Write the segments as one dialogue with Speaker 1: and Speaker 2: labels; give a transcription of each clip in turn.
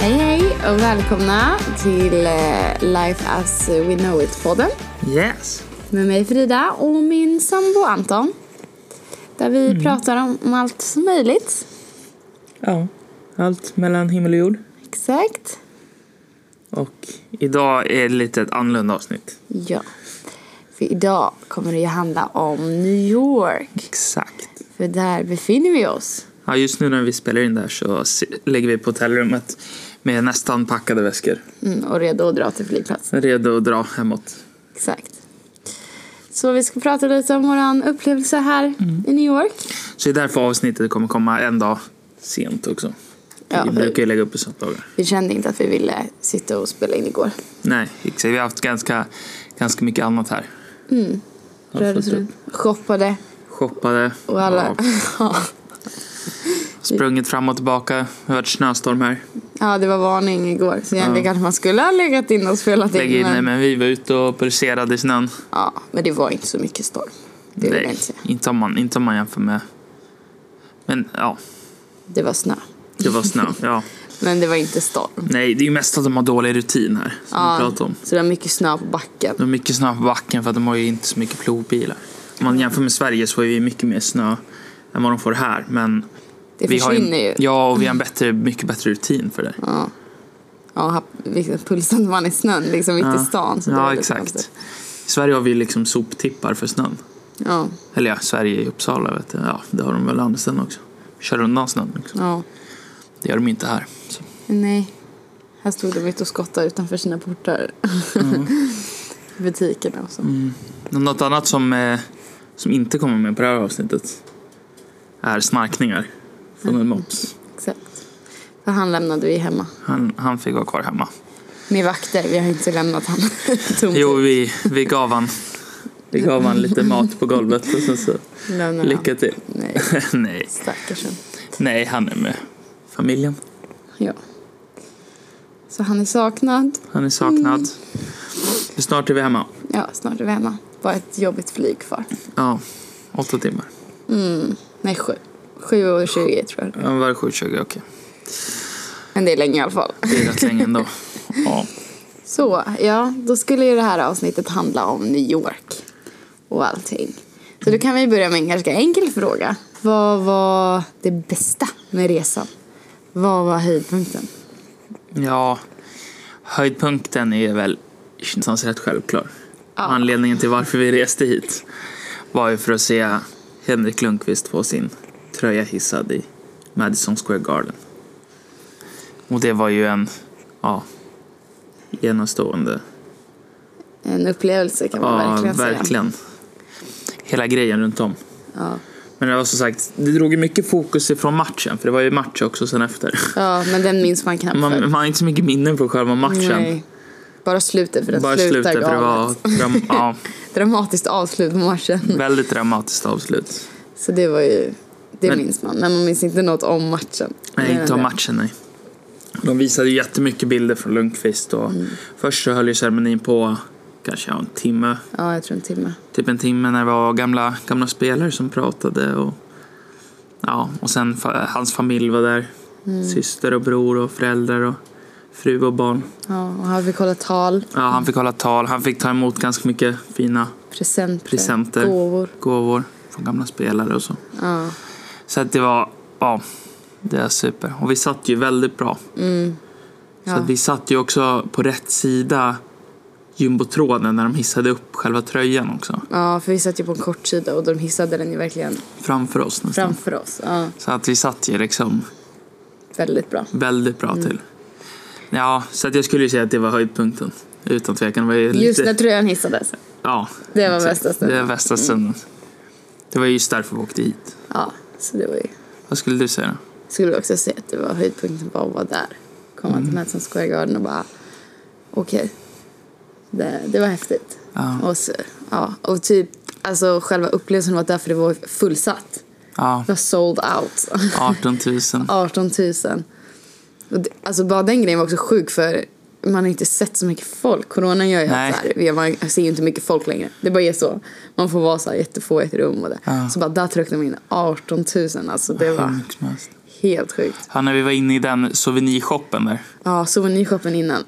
Speaker 1: Hej hej och välkomna till eh, Life as we know it-podden
Speaker 2: Yes.
Speaker 1: med mig Frida och min sambo Anton. Där vi pratar om, om allt som möjligt.
Speaker 2: Ja. Allt mellan himmel och jord.
Speaker 1: Exakt.
Speaker 2: Och idag är det lite ett annorlunda avsnitt.
Speaker 1: Ja. För idag kommer det ju handla om New York.
Speaker 2: Exakt.
Speaker 1: För där befinner vi oss.
Speaker 2: Ja, just nu när vi spelar in där så si- ligger vi på hotellrummet med nästan packade väskor.
Speaker 1: Mm, och redo att dra till flygplatsen.
Speaker 2: Redo att dra hemåt.
Speaker 1: Exakt. Så vi ska prata lite om våran upplevelse här i New York.
Speaker 2: Så det är därför avsnittet kommer komma en dag sent också.
Speaker 1: Ja,
Speaker 2: vi
Speaker 1: för-
Speaker 2: brukar ju lägga upp på söndagar.
Speaker 1: Vi kände inte att vi ville sitta och spela in igår.
Speaker 2: Nej, exakt. Vi har haft ganska, ganska mycket annat här. Har
Speaker 1: Rörde
Speaker 2: fått
Speaker 1: sig
Speaker 2: upp.
Speaker 1: runt, shoppade
Speaker 2: Shoppade.
Speaker 1: och alla...
Speaker 2: Ja,
Speaker 1: Ja.
Speaker 2: sprungit fram och tillbaka. Det har varit snöstorm här.
Speaker 1: ja, det var varning igår. Så egentligen kanske man skulle ha legat in och spelat
Speaker 2: Lägga
Speaker 1: in.
Speaker 2: in det,
Speaker 1: men...
Speaker 2: men vi var ute och pulserade i snön.
Speaker 1: Ja, men det var inte så mycket storm. Det vill jag
Speaker 2: Nej,
Speaker 1: inte säga.
Speaker 2: inte om, man, inte om man jämför med... Men ja,
Speaker 1: Det var snö.
Speaker 2: det var snö. ja.
Speaker 1: Men det var inte storm.
Speaker 2: Nej, det är ju mest att de har dålig rutin här, som vi
Speaker 1: Ja,
Speaker 2: pratade om.
Speaker 1: så det var mycket snö på backen.
Speaker 2: De har mycket snö på backen för att de har ju inte så mycket plogbilar. Om man jämför med Sverige så är vi mycket mer snö än vad de får här. Men
Speaker 1: Det
Speaker 2: vi har
Speaker 1: försvinner
Speaker 2: en,
Speaker 1: ju.
Speaker 2: Ja, och vi har en bättre, mycket bättre rutin för det.
Speaker 1: Ja, ha- liksom, pulsen när man i snön, liksom mitt i
Speaker 2: Ja.
Speaker 1: stan. Så det var
Speaker 2: ja,
Speaker 1: lite
Speaker 2: exakt.
Speaker 1: konstigt.
Speaker 2: I Sverige har vi liksom soptippar för snön.
Speaker 1: Ja,
Speaker 2: Eller ja, Sverige i Uppsala vet jag. Ja, det har de väl andra ställen också. Kör undan snön liksom.
Speaker 1: ja.
Speaker 2: Det gör de inte här. Så.
Speaker 1: Nej. Här stod de ute och skottade utanför sina portar.
Speaker 2: Mm.
Speaker 1: Butikerna och så.
Speaker 2: Något annat som, eh, som inte kommer med på det här avsnittet är snarkningar från en mops.
Speaker 1: Exakt. För han lämnade vi hemma.
Speaker 2: Han, han fick vara kvar hemma.
Speaker 1: Med vakter, vi har inte lämnat han tom.
Speaker 2: Jo, vi, vi gav han, vi gav han lite mat på golvet och sen så
Speaker 1: Lämnar han.
Speaker 2: lycka till.
Speaker 1: Nej,
Speaker 2: Nej,
Speaker 1: stackarsen.
Speaker 2: nej, han är med familjen.
Speaker 1: Ja. Så han är saknad.
Speaker 2: Han är saknad. Snart är vi hemma.
Speaker 1: Ja, snart är vi hemma. Var ett jobbigt flyg kvar. Mm,
Speaker 2: Ja, åtta timmar.
Speaker 1: Nej, sju. Sju och tjugo tror jag.
Speaker 2: Ja, Var det 7.20? Okej.
Speaker 1: Men det är länge i alla fall.
Speaker 2: Det är rätt länge ändå. Ja.
Speaker 1: Så, ja, då skulle ju det här avsnittet handla om New York och allting. Så då kan vi börja med en ganska enkel fråga. Vad var det bästa med resan? Vad var höjdpunkten?
Speaker 2: Ja, höjdpunkten är väl någonstans rätt självklar. Anledningen till varför vi reste hit var ju för att se Henrik Lundqvist få sin tröja hissad i Madison Square Garden. Och det var ju en, ja, genomstående.
Speaker 1: En upplevelse kan man
Speaker 2: Ja,
Speaker 1: verkligen
Speaker 2: verkligen.
Speaker 1: säga.
Speaker 2: Hela grejen runt om.
Speaker 1: Ja.
Speaker 2: Men det var som sagt, det drog ju mycket fokus ifrån matchen, för det var ju match också sen efter.
Speaker 1: ja, men den minns man knappt
Speaker 2: Man,
Speaker 1: för.
Speaker 2: man har inte så mycket minnen från själva matchen.
Speaker 1: Nej. Bara slutet för den
Speaker 2: Bara
Speaker 1: slutar
Speaker 2: slutet, för det var
Speaker 1: galet.
Speaker 2: dram- ja,
Speaker 1: Dramatiskt avslut på matchen.
Speaker 2: väldigt dramatiskt avslut.
Speaker 1: Så det var ju, det
Speaker 2: Men-
Speaker 1: minns man. Men man minns inte något om matchen.
Speaker 2: Nej,
Speaker 1: Mer än
Speaker 2: inte om
Speaker 1: det.
Speaker 2: matchen, nej. De visade ju jättemycket bilder från Lundqvist och
Speaker 1: Mm.
Speaker 2: först så höll ju ceremonin på kanske ja, en timme,
Speaker 1: Ja, jag tror en timme.
Speaker 2: typ en timme när det var gamla, gamla spelare som pratade och ja, och sen fa- hans familj var där.
Speaker 1: Mm.
Speaker 2: Syster och bror och föräldrar och fru och barn.
Speaker 1: Ja, och han fick hålla tal,
Speaker 2: Ja, han fick hålla tal, han fick ta emot ganska mycket fina
Speaker 1: presenter,
Speaker 2: presenter,
Speaker 1: gåvor.
Speaker 2: gåvor från gamla spelare och så.
Speaker 1: Ja.
Speaker 2: Så att det var, ja, det är super. Och vi satt ju väldigt bra.
Speaker 1: Ja.
Speaker 2: Så att vi satt ju också på rätt sida jumbotronen när de hissade upp själva tröjan också.
Speaker 1: ja, för vi satt ju på en kortsida och de hissade den ju verkligen
Speaker 2: Framför oss nästan.
Speaker 1: framför oss. Ja,
Speaker 2: Så att vi satt ju liksom
Speaker 1: väldigt bra.
Speaker 2: väldigt
Speaker 1: Mm.
Speaker 2: bra till. Ja, så att jag skulle ju säga att det var höjdpunkten. Utan tvekan. Det var ju
Speaker 1: Just
Speaker 2: lite,
Speaker 1: när tröjan hissades.
Speaker 2: ja,
Speaker 1: det var
Speaker 2: exakt.
Speaker 1: bästa stunden. Mm.
Speaker 2: Det var bästa stunden. Det var ju just därför vi åkte hit.
Speaker 1: Ja, så det var ju,
Speaker 2: Vad skulle du säga?
Speaker 1: skulle jag också säga att det var höjdpunkten bara att vara där. Komma till
Speaker 2: Mm.
Speaker 1: Madison Square Garden och bara, okej. Det, det var häftigt.
Speaker 2: Ja.
Speaker 1: Och, så, ja, och typ, alltså själva upplevelsen var därför det var fullsatt.
Speaker 2: Ja,
Speaker 1: Det var sold out.
Speaker 2: 18 000.
Speaker 1: 18 000. Och det, alltså bara den grejen var också sjuk för man har inte sett så mycket folk. Coronan gör ju
Speaker 2: Nej.
Speaker 1: att så här, vi- man ser ju inte mycket folk längre. Det bara är så. Man får vara så här jättefå i ett rum och det.
Speaker 2: Ja.
Speaker 1: Så bara där tryckte de in 18 000. Alltså det
Speaker 2: Hur
Speaker 1: var
Speaker 2: mycket som helst.
Speaker 1: Helt sjukt.
Speaker 2: Ja, när vi var inne i den souvenirshoppen där.
Speaker 1: Ja, souvenirshoppen innan.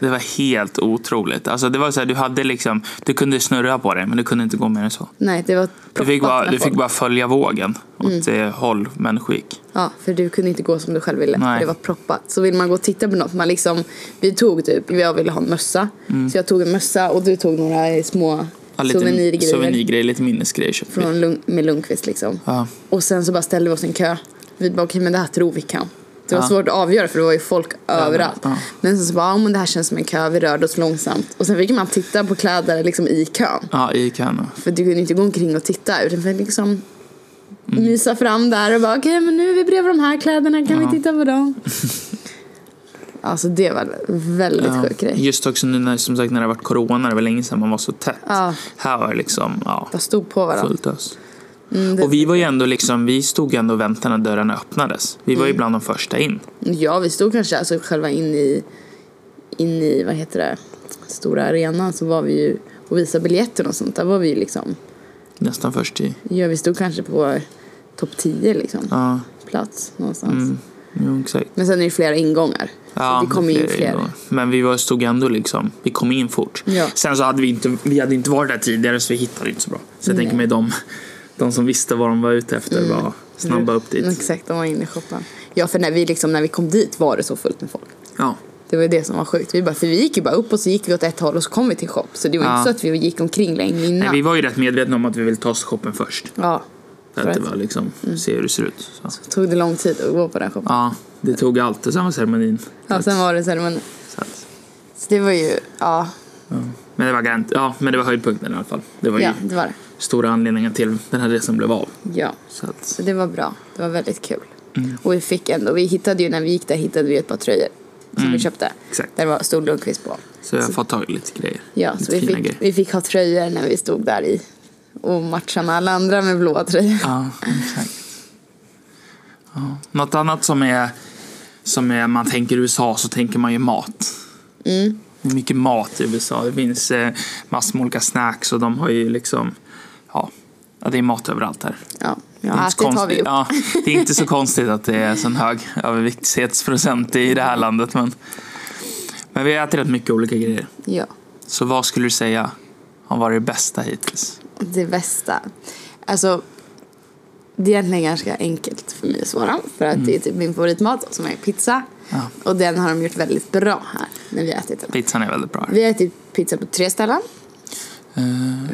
Speaker 2: Det var helt otroligt. Alltså, det var så här, du, hade liksom, du kunde snurra på det, men du kunde inte gå mer än så.
Speaker 1: Nej, det var
Speaker 2: Du
Speaker 1: proppat
Speaker 2: fick bara,
Speaker 1: med
Speaker 2: du fick
Speaker 1: folk. Mm.
Speaker 2: bara följa vågen åt det håll människor gick.
Speaker 1: Ja, för du kunde inte gå som du själv ville.
Speaker 2: Nej.
Speaker 1: För det var proppat. Så vill man gå och titta på något, man liksom, vi tog typ, jag ville ha en mössa. Så jag tog en mössa och du tog några små
Speaker 2: Mm. Ja, lite
Speaker 1: souvenirgrejer
Speaker 2: souvenirgrejer, lite minnesgrejer köpte vi.
Speaker 1: från Lund, med Lundqvist liksom.
Speaker 2: Ja.
Speaker 1: Och sen så bara ställde vi oss i en kö. Vi bara, okej men det här tror vi kan. Det var
Speaker 2: Ja.
Speaker 1: svårt att avgöra för det var ju folk överallt.
Speaker 2: ja.
Speaker 1: Men sen så bara, ja men det här känns som en kö, vi rörde oss långsamt. Och sen fick man titta på kläder liksom i kön.
Speaker 2: Ja, i kön.
Speaker 1: För du kunde inte gå omkring och titta utan fick liksom mysa fram där och bara okej men nu är vi bredvid de här kläderna, kan vi titta på dem? alltså det var en väldigt
Speaker 2: Ja.
Speaker 1: sjuk grej.
Speaker 2: Just också nu när, som sagt, när det har varit corona, det var länge sedan man var så tätt.
Speaker 1: Ja.
Speaker 2: Här var det liksom ja,
Speaker 1: Bara stod på varandra.
Speaker 2: fullt ös.
Speaker 1: Mm, det,
Speaker 2: Och vi var ju ändå liksom, vi stod ju ändå och väntade när dörrarna öppnades. Vi
Speaker 1: Mm.
Speaker 2: var ju bland de första in.
Speaker 1: Ja vi stod kanske alltså själva in i, in i vad heter det, stora arenan så var vi ju och visade biljetten och sånt. Där var vi ju liksom,
Speaker 2: Nästan först i.
Speaker 1: ja vi stod kanske på topp 10 liksom,
Speaker 2: Ja,
Speaker 1: plats någonstans.
Speaker 2: mm, jo, exakt.
Speaker 1: Men sen är det flera ingångar.
Speaker 2: Ja,
Speaker 1: så det kommer ju in fler.
Speaker 2: ingångar. Men vi var, stod ändå liksom, vi kom in fort.
Speaker 1: Ja.
Speaker 2: Sen så hade vi inte, vi hade inte varit där tidigare så vi hittade inte så bra. Så jag tänker mig de, de som visste vad de var ute efter var snabba upp
Speaker 1: Mm,
Speaker 2: dit.
Speaker 1: Exakt, de var inne i shoppen. Ja, för när vi, liksom, när vi kom dit var det så fullt med folk.
Speaker 2: Ja.
Speaker 1: Det var ju det som var sjukt. Vi, bara, för vi gick ju bara upp och så gick vi åt ett håll och så kom vi till shop. Så det var
Speaker 2: Ja.
Speaker 1: inte så att vi gick omkring länge innan.
Speaker 2: Nej, vi var ju rätt medvetna om att vi ville ta oss till shoppen först.
Speaker 1: Ja,
Speaker 2: För att det var liksom,
Speaker 1: Mm.
Speaker 2: se hur det ser ut. Så.
Speaker 1: tog det lång tid att gå på den shoppen.
Speaker 2: Ja, det tog allt och sen var ceremonin.
Speaker 1: Ja, sen var det ceremonin.
Speaker 2: Så att,
Speaker 1: Så det var ju, ja,
Speaker 2: men det var garant, ja, men det var höjdpunkten i alla fall. Det var ju
Speaker 1: ja det var det.
Speaker 2: stora anledningen till den här resan blev av.
Speaker 1: Ja,
Speaker 2: Så att,
Speaker 1: så det var bra. Det var väldigt kul.
Speaker 2: Mm.
Speaker 1: Och vi fick ändå, vi hittade ju när vi gick där hittade vi ett par tröjor som
Speaker 2: Mm.
Speaker 1: vi köpte.
Speaker 2: exakt.
Speaker 1: Där det var stod Lundqvist på.
Speaker 2: Så jag har fått tag i lite grejer.
Speaker 1: Ja,
Speaker 2: lite
Speaker 1: så vi
Speaker 2: fina
Speaker 1: fick,
Speaker 2: grejer.
Speaker 1: vi fick ha tröjor när vi stod där i och matcha med alla andra med blåa tröjor.
Speaker 2: Ja, exakt. Ja. Något annat som är, som är, man tänker USA så tänker man ju mat.
Speaker 1: Mm.
Speaker 2: Det är mycket mat i USA. Det finns eh, massor med olika snacks och de har ju liksom, ja, ja det är mat överallt här.
Speaker 1: Ja,
Speaker 2: Det är
Speaker 1: ja
Speaker 2: inte så
Speaker 1: det tar vi
Speaker 2: konstigt-
Speaker 1: upp.
Speaker 2: ja, det är inte så konstigt att det är sån hög överviktighetsprocent i det här landet. Men, men vi äter rätt mycket olika grejer.
Speaker 1: Ja,
Speaker 2: Så vad skulle du säga har varit det bästa hittills?
Speaker 1: det bästa. Alltså, det är egentligen ganska enkelt för mig att svara. För att det är typ min favoritmat som är pizza.
Speaker 2: Mm. Ja.
Speaker 1: Och den har de gjort väldigt bra här när vi har ätit den.
Speaker 2: Pizzan är väldigt bra.
Speaker 1: Vi har ätit pizza på tre ställen.
Speaker 2: Eh,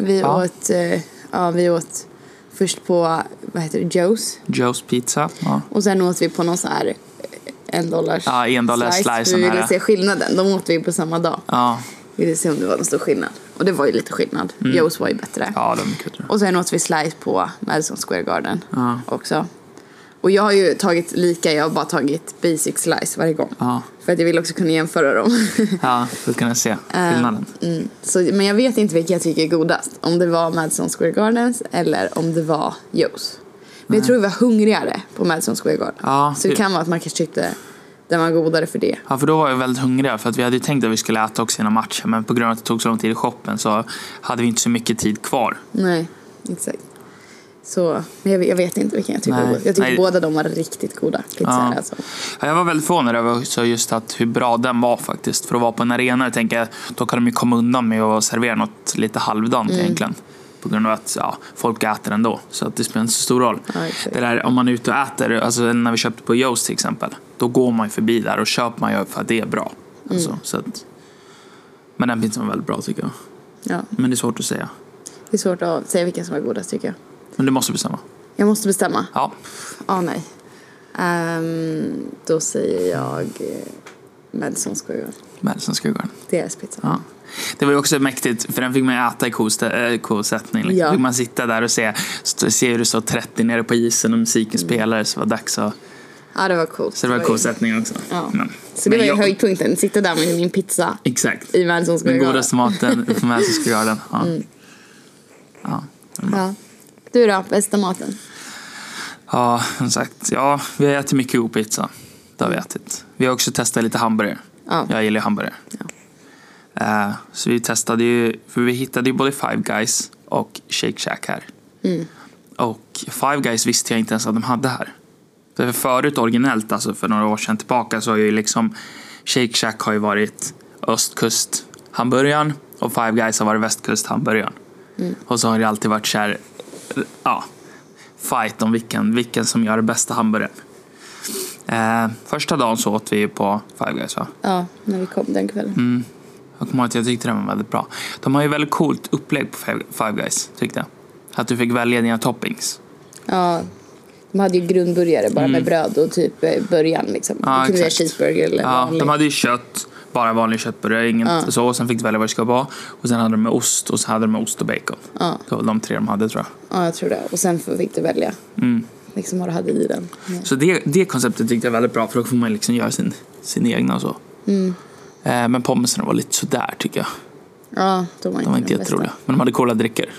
Speaker 1: Vi
Speaker 2: ja,
Speaker 1: åt, eh, ja vi åt först på, vad heter det, Joe's.
Speaker 2: Joe's pizza. Ja.
Speaker 1: Och sen åt vi på någon sån här eh, en dollars
Speaker 2: Ja, en dollar slice,
Speaker 1: Vi
Speaker 2: sån
Speaker 1: ville
Speaker 2: här.
Speaker 1: se skillnaden. De åt vi på samma dag.
Speaker 2: Ja,
Speaker 1: Vi ville se om det var någon stor skillnad. Och det var ju lite skillnad.
Speaker 2: Mm.
Speaker 1: Joe's var ju bättre.
Speaker 2: ja, de är kul.
Speaker 1: Och sen åt vi slice på Madison Square Garden
Speaker 2: Ja.
Speaker 1: också. Och jag har ju tagit lika, jag har bara tagit basic slice varje gång.
Speaker 2: Ja.
Speaker 1: För att jag vill också kunna jämföra dem.
Speaker 2: Ja, för att kunna se skillnaden.
Speaker 1: mm. Så, men jag vet inte vilka jag tycker är godast. Om det var Madison Square Gardens eller om det var Joe's. Men jag tror vi var hungrigare på Madison Square Garden.
Speaker 2: Ja, typ.
Speaker 1: Så det
Speaker 2: det-
Speaker 1: kan vara att man kanske tyckte den var godare för det.
Speaker 2: Ja, för då var jag väldigt hungrig för att vi hade ju tänkt att vi skulle äta också innan matchen men på grund av att det tog så lång tid i shoppen så hade vi inte så mycket tid kvar.
Speaker 1: Nej, exakt. Så, men jag, jag vet inte vilken jag tycker
Speaker 2: Nej.
Speaker 1: är god. Jag tycker
Speaker 2: Nej.
Speaker 1: båda de var riktigt goda pizzor.
Speaker 2: Ja.
Speaker 1: Alltså.
Speaker 2: Ja, Jag var väldigt förvånad över också just att hur bra den var faktiskt. För att vara på en arena, jag tänker, då kan de ju komma undan med att servera något lite halvdant egentligen. På grund av att ja, folk äter ändå, så att det spelar inte så stor roll.
Speaker 1: Ja, exakt.
Speaker 2: det där om man är ute och äter, alltså när vi köpte på Joe's till exempel, då går man ju förbi där och köper man ju för att det är bra.
Speaker 1: Mm.
Speaker 2: Alltså, så att, men den pizzan var väldigt bra tycker jag.
Speaker 1: Ja.
Speaker 2: Men det är svårt att säga.
Speaker 1: Det är svårt att säga vilken som är godast tycker jag.
Speaker 2: Men du måste bestämma.
Speaker 1: Jag måste bestämma.
Speaker 2: Ja,
Speaker 1: Ja, nej. Ehm, då säger jag eh, Madison Square Garden.
Speaker 2: Madison Square Garden.
Speaker 1: Deras pizza.
Speaker 2: Ja. Det var ju också mäktigt, för den fick man ju äta i kostä- äh, kosättning. Liksom.
Speaker 1: Ja.
Speaker 2: Fick man sitta där och se, st- se hur det stod 30 nere på isen och musiken spelades. Så var det dags att...
Speaker 1: Ja, Mm. det var coolt.
Speaker 2: Så det var
Speaker 1: ju-
Speaker 2: kosättning också.
Speaker 1: Ja.
Speaker 2: Men,
Speaker 1: Så det var
Speaker 2: men
Speaker 1: ju
Speaker 2: jag-
Speaker 1: höjdpunkten. Sitta där med min pizza
Speaker 2: Exakt.
Speaker 1: i Madison Square
Speaker 2: Den
Speaker 1: Garden.
Speaker 2: godaste maten på Mälarskogsgarden. Ja.
Speaker 1: Mm.
Speaker 2: Ja.
Speaker 1: Ja. Du då, bästa maten?
Speaker 2: ja, som sagt. Ja, vi har ätit mycket god pizza. Det har vi ätit. Vi har också testat lite hamburgare.
Speaker 1: Mm. Ja.
Speaker 2: Jag gillar ju hamburgare.
Speaker 1: Ja.
Speaker 2: Eh, så vi testade ju, för vi hittade ju både Five Guys
Speaker 1: Mm.
Speaker 2: och Shake Shack här. Och Five Guys visste jag inte ens att de hade här. För förut originellt, alltså för några år sedan tillbaka, så har ju liksom Shake Shack har ju varit östkusthamburgaren och Five Guys har varit västkusthamburgaren.
Speaker 1: Mm.
Speaker 2: Och så har det alltid varit så här, ja, fight om vilken, vilken som gör det bästa hamburgaren. Eh, första dagen så åt vi ju på Five Guys va?
Speaker 1: Ja, när vi kom den kvällen.
Speaker 2: Mm. Jag kommer ihåg att jag tyckte den var väldigt bra. De har ju väldigt coolt upplägg på Five- Five Guys, tyckte jag. Att du fick välja dina toppings.
Speaker 1: Ja. De hade ju grundburgare bara med bröd och typ eh, början liksom.
Speaker 2: Mm. Ja,
Speaker 1: det kunde vara
Speaker 2: exakt.
Speaker 1: cheeseburger eller
Speaker 2: Ja,
Speaker 1: vanlig.
Speaker 2: de hade ju kött, bara vanlig köttburgare, inget så. Och sen fick du välja vad det skulle vara. Och sen hade de med ost och så hade de med ost och bacon.
Speaker 1: Ja.
Speaker 2: Det var de tre de hade tror jag. Mm.
Speaker 1: Ja, jag tror det. Och sen fick du välja liksom vad du hade i den. Ja.
Speaker 2: Så det, det konceptet tyckte jag var väldigt bra för då får man liksom göra sin, sin egna och så. Eh, men pommesen var lite sådär tycker jag.
Speaker 1: Ja, de var inte,
Speaker 2: De var inte
Speaker 1: de bästa.
Speaker 2: jätteroliga. Men de hade coola drycker.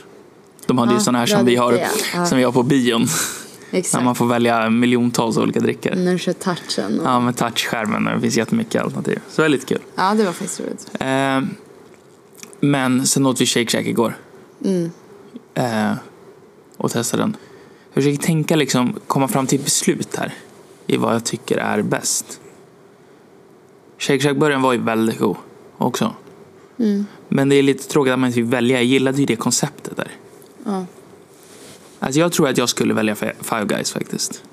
Speaker 2: De hade
Speaker 1: Ja,
Speaker 2: ju sådana här
Speaker 1: bra
Speaker 2: som vi, har,
Speaker 1: dricker, ja. Ja.
Speaker 2: som vi har på bion. När
Speaker 1: Exakt. Mm.
Speaker 2: man får välja miljontals olika drycker.
Speaker 1: När du kör touchen. Och... Ja.
Speaker 2: Ja, med touchskärmen och det finns jättemycket alternativ. Så det är lite kul.
Speaker 1: det var faktiskt roligt.
Speaker 2: Eh, men sen åt vi Shake Shack igår.
Speaker 1: Mm.
Speaker 2: Eh, och testade den. Jag försöker tänka liksom, komma fram till ett beslut här. I vad jag tycker är bäst. Shake Shack-burgaren var ju väldigt god också.
Speaker 1: Mm.
Speaker 2: Men det är lite tråkigt att man inte fick välja. Jag gillade ju det konceptet där.
Speaker 1: Ja.
Speaker 2: Alltså jag tror att jag skulle välja Fi- Five Guys faktiskt.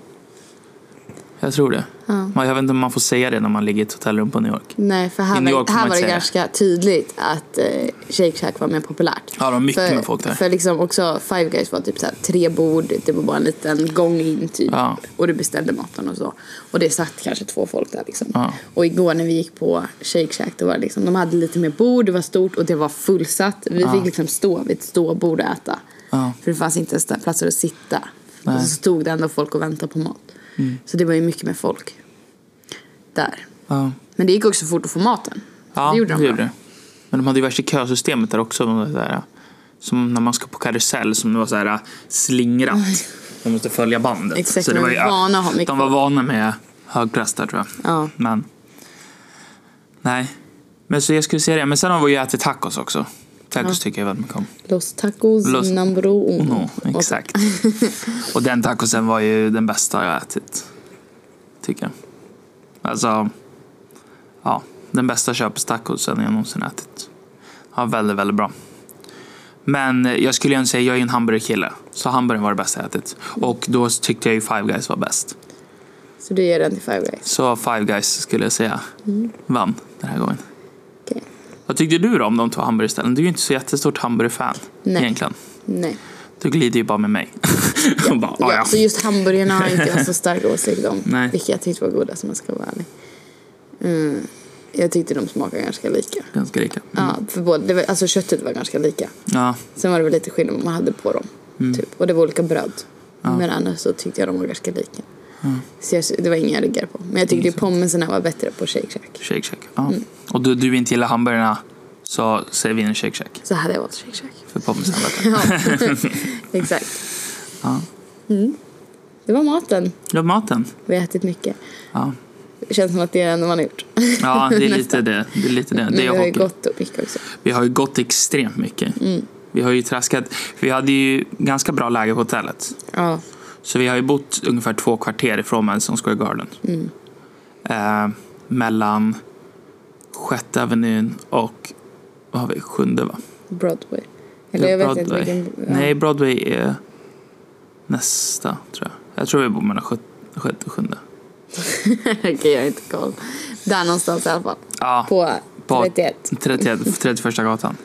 Speaker 2: Jag tror det.
Speaker 1: Ja.
Speaker 2: Men Jag vet inte om man får säga det när man ligger i ett hotellrum på New York.
Speaker 1: Nej, för
Speaker 2: I
Speaker 1: här
Speaker 2: New York
Speaker 1: var,
Speaker 2: får
Speaker 1: här
Speaker 2: man
Speaker 1: var det
Speaker 2: inte säga.
Speaker 1: ganska tydligt att eh, Shake Shack var mer populärt.
Speaker 2: Ja, det var mycket
Speaker 1: för,
Speaker 2: med folk där.
Speaker 1: För liksom också Five Guys var typ såhär, tre bord, det var bara en liten gång in typ.
Speaker 2: Ja.
Speaker 1: Och du beställde maten och så. Och det satt kanske två folk där liksom.
Speaker 2: Ja.
Speaker 1: Och igår när vi gick på Shake Shack, då var det liksom, de hade lite mer bord, det var stort och det var fullsatt. Vi fick liksom stå vid ett ståbord och äta.
Speaker 2: Ja.
Speaker 1: För det fanns inte ens där platser att sitta.
Speaker 2: Nej. Mm.
Speaker 1: Och så stod det ändå folk och väntade på mat. Så det var ju mycket mer folk där.
Speaker 2: Ja.
Speaker 1: Men det gick också fort att få maten.
Speaker 2: Ja,
Speaker 1: det gjorde de.
Speaker 2: det
Speaker 1: bra.
Speaker 2: gjorde det. Men de hade ju värsta kösystemet där också. de Där, som när man ska på karusell som det var så här äh, slingrat. De måste följa bandet.
Speaker 1: Mm. Exakt,
Speaker 2: det
Speaker 1: de
Speaker 2: var ju- äh,
Speaker 1: är vana att ha mycket
Speaker 2: De var vana med högklass där tror jag.
Speaker 1: Ja.
Speaker 2: Men, nej. Men så jag skulle säga det. Men sen har vi ju ätit tacos också. Tacos tycker jag väldigt mycket om.
Speaker 1: Los tacos
Speaker 2: Los-
Speaker 1: numero uno.
Speaker 2: No, exakt. Och den tacosen var ju den bästa jag ätit. Tycker jag. Alltså, ja. Den bästa köpestacosen jag någonsin ätit. Ja, väldigt, väldigt bra. Men jag skulle ju ändå säga, jag är ju en hamburgerkille. Så hamburgaren var det bästa jag ätit. Och då tyckte jag ju Five Guys var bäst.
Speaker 1: Så du ger den till Five Guys?
Speaker 2: Så Five Guys skulle jag säga
Speaker 1: Mm.
Speaker 2: vann den här gången.
Speaker 1: Okej.
Speaker 2: Vad tyckte du då om de två hamburgerställen? Du är ju inte så jättestort hamburgerfan
Speaker 1: Nej.
Speaker 2: egentligen.
Speaker 1: Nej.
Speaker 2: Du glider ju bara med mig. Och bara, "Ah,
Speaker 1: Ja, Så just hamburgarna har inte jag så stark åsikt om.
Speaker 2: Nej.
Speaker 1: Vilka jag tyckte var goda som jag ska vara ärlig. Mm. Jag tyckte de smakade ganska lika.
Speaker 2: Ganska Mm. lika.
Speaker 1: Ja, för både, det var, alltså köttet var ganska lika.
Speaker 2: Ja,
Speaker 1: Sen var det väl lite skillnad vad man hade på dem.
Speaker 2: Mm.
Speaker 1: Typ. Och det var olika bröd. Men annars så tyckte jag de var ganska lika. Så jag, det var inga ryggar på. Men jag tyckte ju pommesen var bättre på Shake Shack.
Speaker 2: Shake Shack. Ja.
Speaker 1: Mm.
Speaker 2: Och du, du inte gillar hamburgarna så säger vi en Shake Shack.
Speaker 1: Så hade jag valt Shake Shack.
Speaker 2: För pommesen var bättre.
Speaker 1: Ja, exakt. Mm.
Speaker 2: Ja.
Speaker 1: Det var maten.
Speaker 2: Ja, maten.
Speaker 1: Vi har ätit mycket.
Speaker 2: Ja.
Speaker 1: Det känns som att det är det enda man har gjort.
Speaker 2: ja, det är lite det. Det är lite det.
Speaker 1: Men
Speaker 2: det
Speaker 1: vi
Speaker 2: är
Speaker 1: har ju
Speaker 2: hockey.
Speaker 1: gått Mm. och mycket också.
Speaker 2: Vi har ju gått extremt mycket. Vi har ju traskat. Vi hade ju ganska bra läge på hotellet.
Speaker 1: Ja,
Speaker 2: Så vi har ju bott ungefär två kvarter ifrån Madison Square Garden.
Speaker 1: Mm.
Speaker 2: Eh, mellan Sjätte Avenyn och vad har vi, Sjunde va?
Speaker 1: Broadway. Eller jag vet inte vilken... Ja.
Speaker 2: Nej, Broadway är nästa, tror jag. Jag tror vi bor mellan sjut- sjätte och sjunde.
Speaker 1: Okej, jag har inte koll. Där någonstans i alla fall.
Speaker 2: Ja,
Speaker 1: På,
Speaker 2: på
Speaker 1: 31.
Speaker 2: 31, 31 gatan.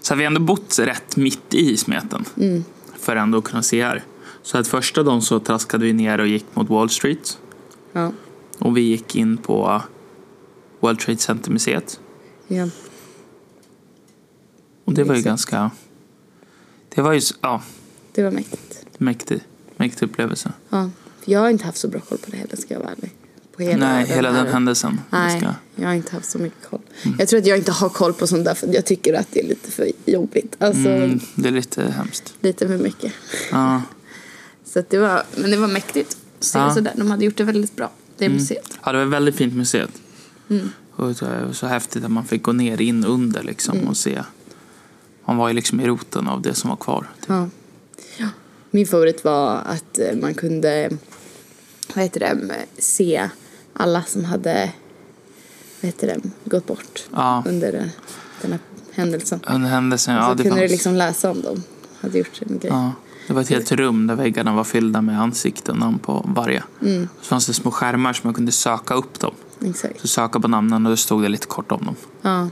Speaker 2: Så vi har ändå bott rätt mitt i smeten
Speaker 1: Mm.
Speaker 2: för ändå att kunna se här. Så att första dagen så traskade vi ner och gick mot Wall Street
Speaker 1: Ja.
Speaker 2: och vi gick in på World Trade Center-museet.
Speaker 1: ja.
Speaker 2: Och det var ju
Speaker 1: Exakt.
Speaker 2: ganska... Det var ju s- ja,
Speaker 1: Det var mäktigt.
Speaker 2: mäktig, mäktig upplevelse.
Speaker 1: Ja. För jag har inte haft så bra koll på det heller, ska jag vara ärlig. På hela
Speaker 2: Nej, hela den
Speaker 1: här-
Speaker 2: händelsen. Vi
Speaker 1: Nej,
Speaker 2: ska- Mm.
Speaker 1: jag har inte haft så mycket koll. Jag tror att jag inte har koll på sånt där för jag tycker att det är lite för jobbigt. Alltså,
Speaker 2: Mm, det är lite hemskt.
Speaker 1: lite för mycket.
Speaker 2: Ja.
Speaker 1: Så att det var, men det var mäktigt. Så
Speaker 2: Ja. Mm.
Speaker 1: sådär. De hade gjort det väldigt bra, det museet.
Speaker 2: Ja, det var ett väldigt fint museet.
Speaker 1: Mm.
Speaker 2: Och det var så häftigt att man fick gå ner in under liksom
Speaker 1: Mm.
Speaker 2: och se. Man var ju liksom i roten av det som var kvar.
Speaker 1: Ja. Min favorit var att eh, man kunde vad heter det, se alla som hade vad heter det, gått bort
Speaker 2: Ja.
Speaker 1: under den här händelsen.
Speaker 2: Under händelsen, ja
Speaker 1: så
Speaker 2: det
Speaker 1: kunde du
Speaker 2: fanns.
Speaker 1: liksom läsa om dem, hade gjort sin grej.
Speaker 2: Ja, det var ett helt rum där väggarna var fyllda med ansikten, namn på varje. Så fanns det små skärmar som man kunde söka upp dem.
Speaker 1: Mm, Exakt.
Speaker 2: Så söka på namnen och då stod det lite kort om dem.
Speaker 1: Ja.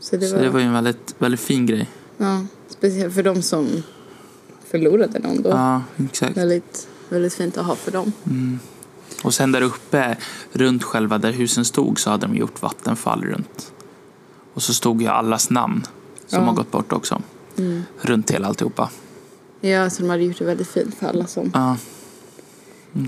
Speaker 1: Så det
Speaker 2: så
Speaker 1: var,
Speaker 2: det var ju en väldigt, väldigt fin grej.
Speaker 1: Ja, speciellt för de som förlorade någon då.
Speaker 2: Ja, exakt.
Speaker 1: Väldigt, väldigt fint att ha för dem.
Speaker 2: Och sen där uppe, runt själva där husen stod, så hade de gjort vattenfall runt. Och så stod ju allas namn som
Speaker 1: Ja.
Speaker 2: har gått bort också.
Speaker 1: Mm.
Speaker 2: Runt hela alltihopa.
Speaker 1: Ja, så de hade gjort det väldigt fint för alla som
Speaker 2: Ja,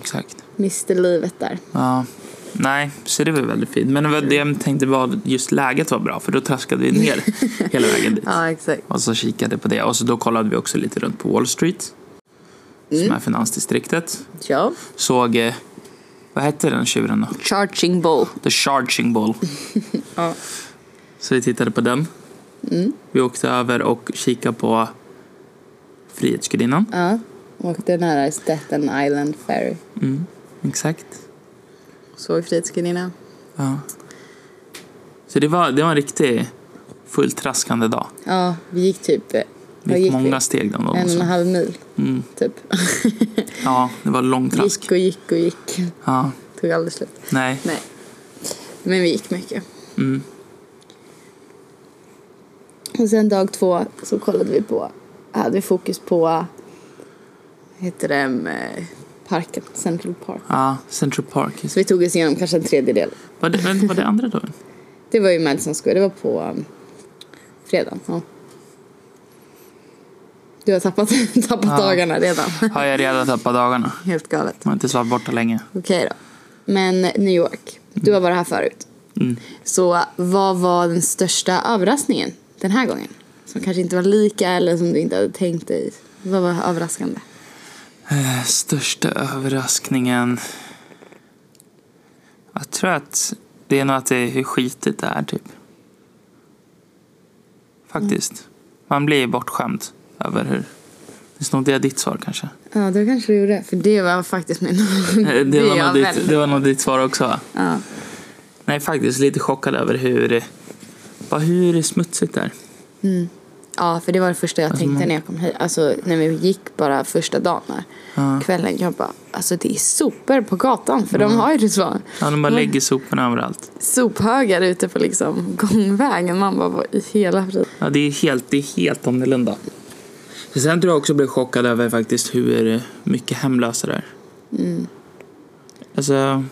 Speaker 2: exakt.
Speaker 1: miste livet där.
Speaker 2: Ja. Nej, så det var väldigt fint. Men det var det jag tänkte var just läget var bra, för då traskade vi ner hela vägen dit.
Speaker 1: Ja, exakt.
Speaker 2: Och så kikade på det. Och så då kollade vi också lite runt på Wall Street,
Speaker 1: Mm.
Speaker 2: som är finansdistriktet.
Speaker 1: Ja.
Speaker 2: Såg, eh, vad hette den tjuren då?
Speaker 1: Charging bow.
Speaker 2: The Charging Ball.
Speaker 1: Ja. Mm.
Speaker 2: Så vi tittade på den. Vi åkte över och kikade på Frihetsgudinnan.
Speaker 1: Ja. Och den här Staten Island Ferry.
Speaker 2: Mm, Exakt.
Speaker 1: Såg Frihetsgudinnan.
Speaker 2: Ja. Så det var, det var en riktig fulltraskande dag.
Speaker 1: Ja, vi gick typ... eh,
Speaker 2: Det
Speaker 1: Vad
Speaker 2: gick
Speaker 1: gick
Speaker 2: många
Speaker 1: vi?
Speaker 2: steg den dagen.
Speaker 1: En och en
Speaker 2: Alltså.
Speaker 1: halv mil,
Speaker 2: Mm.
Speaker 1: typ.
Speaker 2: Ja, det var långtrask.
Speaker 1: gick och gick och gick.
Speaker 2: Ja,
Speaker 1: Tog aldrig slut.
Speaker 2: nej.
Speaker 1: Nej. Men vi gick mycket.
Speaker 2: Mm.
Speaker 1: Och sen dag två så kollade vi på, hade vi fokus på, vad heter det, eh, parken, Central Park.
Speaker 2: Ja, Central Park.
Speaker 1: Så vi tog oss igenom kanske en tredjedel.
Speaker 2: Var det, vänta, var det andra då?
Speaker 1: Det var ju Madison Square, det var på um, fredagen. Ja. Du har tappat, tappat dagarna redan.
Speaker 2: Har jag redan tappat dagarna?
Speaker 1: Helt galet.
Speaker 2: Man har inte varit borta länge.
Speaker 1: Okej då. Men New York, du har varit här förut.
Speaker 2: Mm.
Speaker 1: Så vad var den största överraskningen den här gången? Som kanske inte var lika eller som du inte hade tänkt dig. Vad var överraskande?
Speaker 2: Eh, Största överraskningen... Jag tror att det är nog att det är hur skitigt det är, typ. Faktiskt. Man blir bortskämd över hur... Det snodde jag ditt svar kanske.
Speaker 1: Ja, det kanske du gjorde. För det var faktiskt min...
Speaker 2: Eh, Det var,
Speaker 1: Mm. är
Speaker 2: nog
Speaker 1: jag
Speaker 2: ditt,
Speaker 1: väldigt-
Speaker 2: det var nog ditt svar också va?
Speaker 1: Ja.
Speaker 2: Nej, faktiskt lite chockad över hur... Bara hur smutsigt det är.
Speaker 1: ja, för det var det första jag tänkte när jag kom hit. Alltså när vi gick bara första dagen här. Kvällen, jag bara, alltså det är sopor på gatan. För de har ju det så.
Speaker 2: Ja, de bara lägger soporna överallt.
Speaker 1: Sophögar ute på liksom gångvägen. Man bara, vad i hela friden.
Speaker 2: Ja, det är helt, det är helt annorlunda. Så sen tror jag också jag blev chockad över faktiskt hur mycket hemlösa det är.
Speaker 1: Mm.
Speaker 2: Alltså,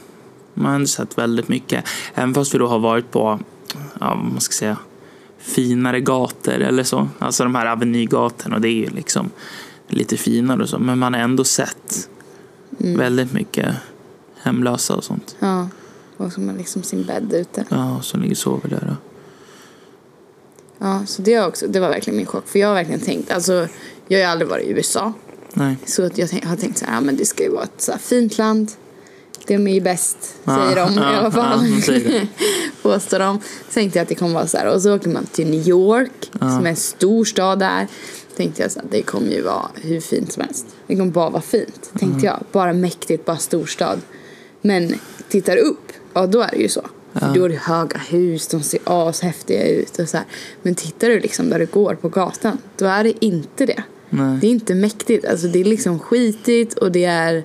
Speaker 2: man har ändå sett väldigt mycket. Även fast vi då har varit på, ja, vad man ska säga, finare gator eller så. Alltså de här avenygatorna, det är ju liksom lite finare och så. Men man har ändå sett
Speaker 1: Mm.
Speaker 2: väldigt mycket hemlösa och sånt.
Speaker 1: Ja. Och som har liksom sin bädd ute.
Speaker 2: Ja, och som ligger och sover där. då.
Speaker 1: Ja, så det, har också, det var verkligen min chock. För jag har verkligen tänkt, alltså jag har ju aldrig varit i USA.
Speaker 2: Nej.
Speaker 1: Så att jag tänk, har tänkt så här, ja, men det ska ju vara ett så här fint land. De är ju bäst, säger de
Speaker 2: Ja,
Speaker 1: i alla fall.
Speaker 2: ja, de säger det.
Speaker 1: Påstår de. Så tänkte jag att det kommer vara så här. Och så åker man till New York, som är en stor stad där. Tänkte jag så här, det kommer ju vara hur fint som helst. Det kommer bara vara fint, tänkte
Speaker 2: Mm.
Speaker 1: jag. Bara mäktigt, bara storstad. Men tittar upp, ja då är det ju så. För då är det höga hus, de ser ashäftiga ut och så här. Men tittar du liksom där du går på gatan, då är det inte det.
Speaker 2: Nej.
Speaker 1: Det är inte mäktigt. Alltså det är liksom skitigt och det är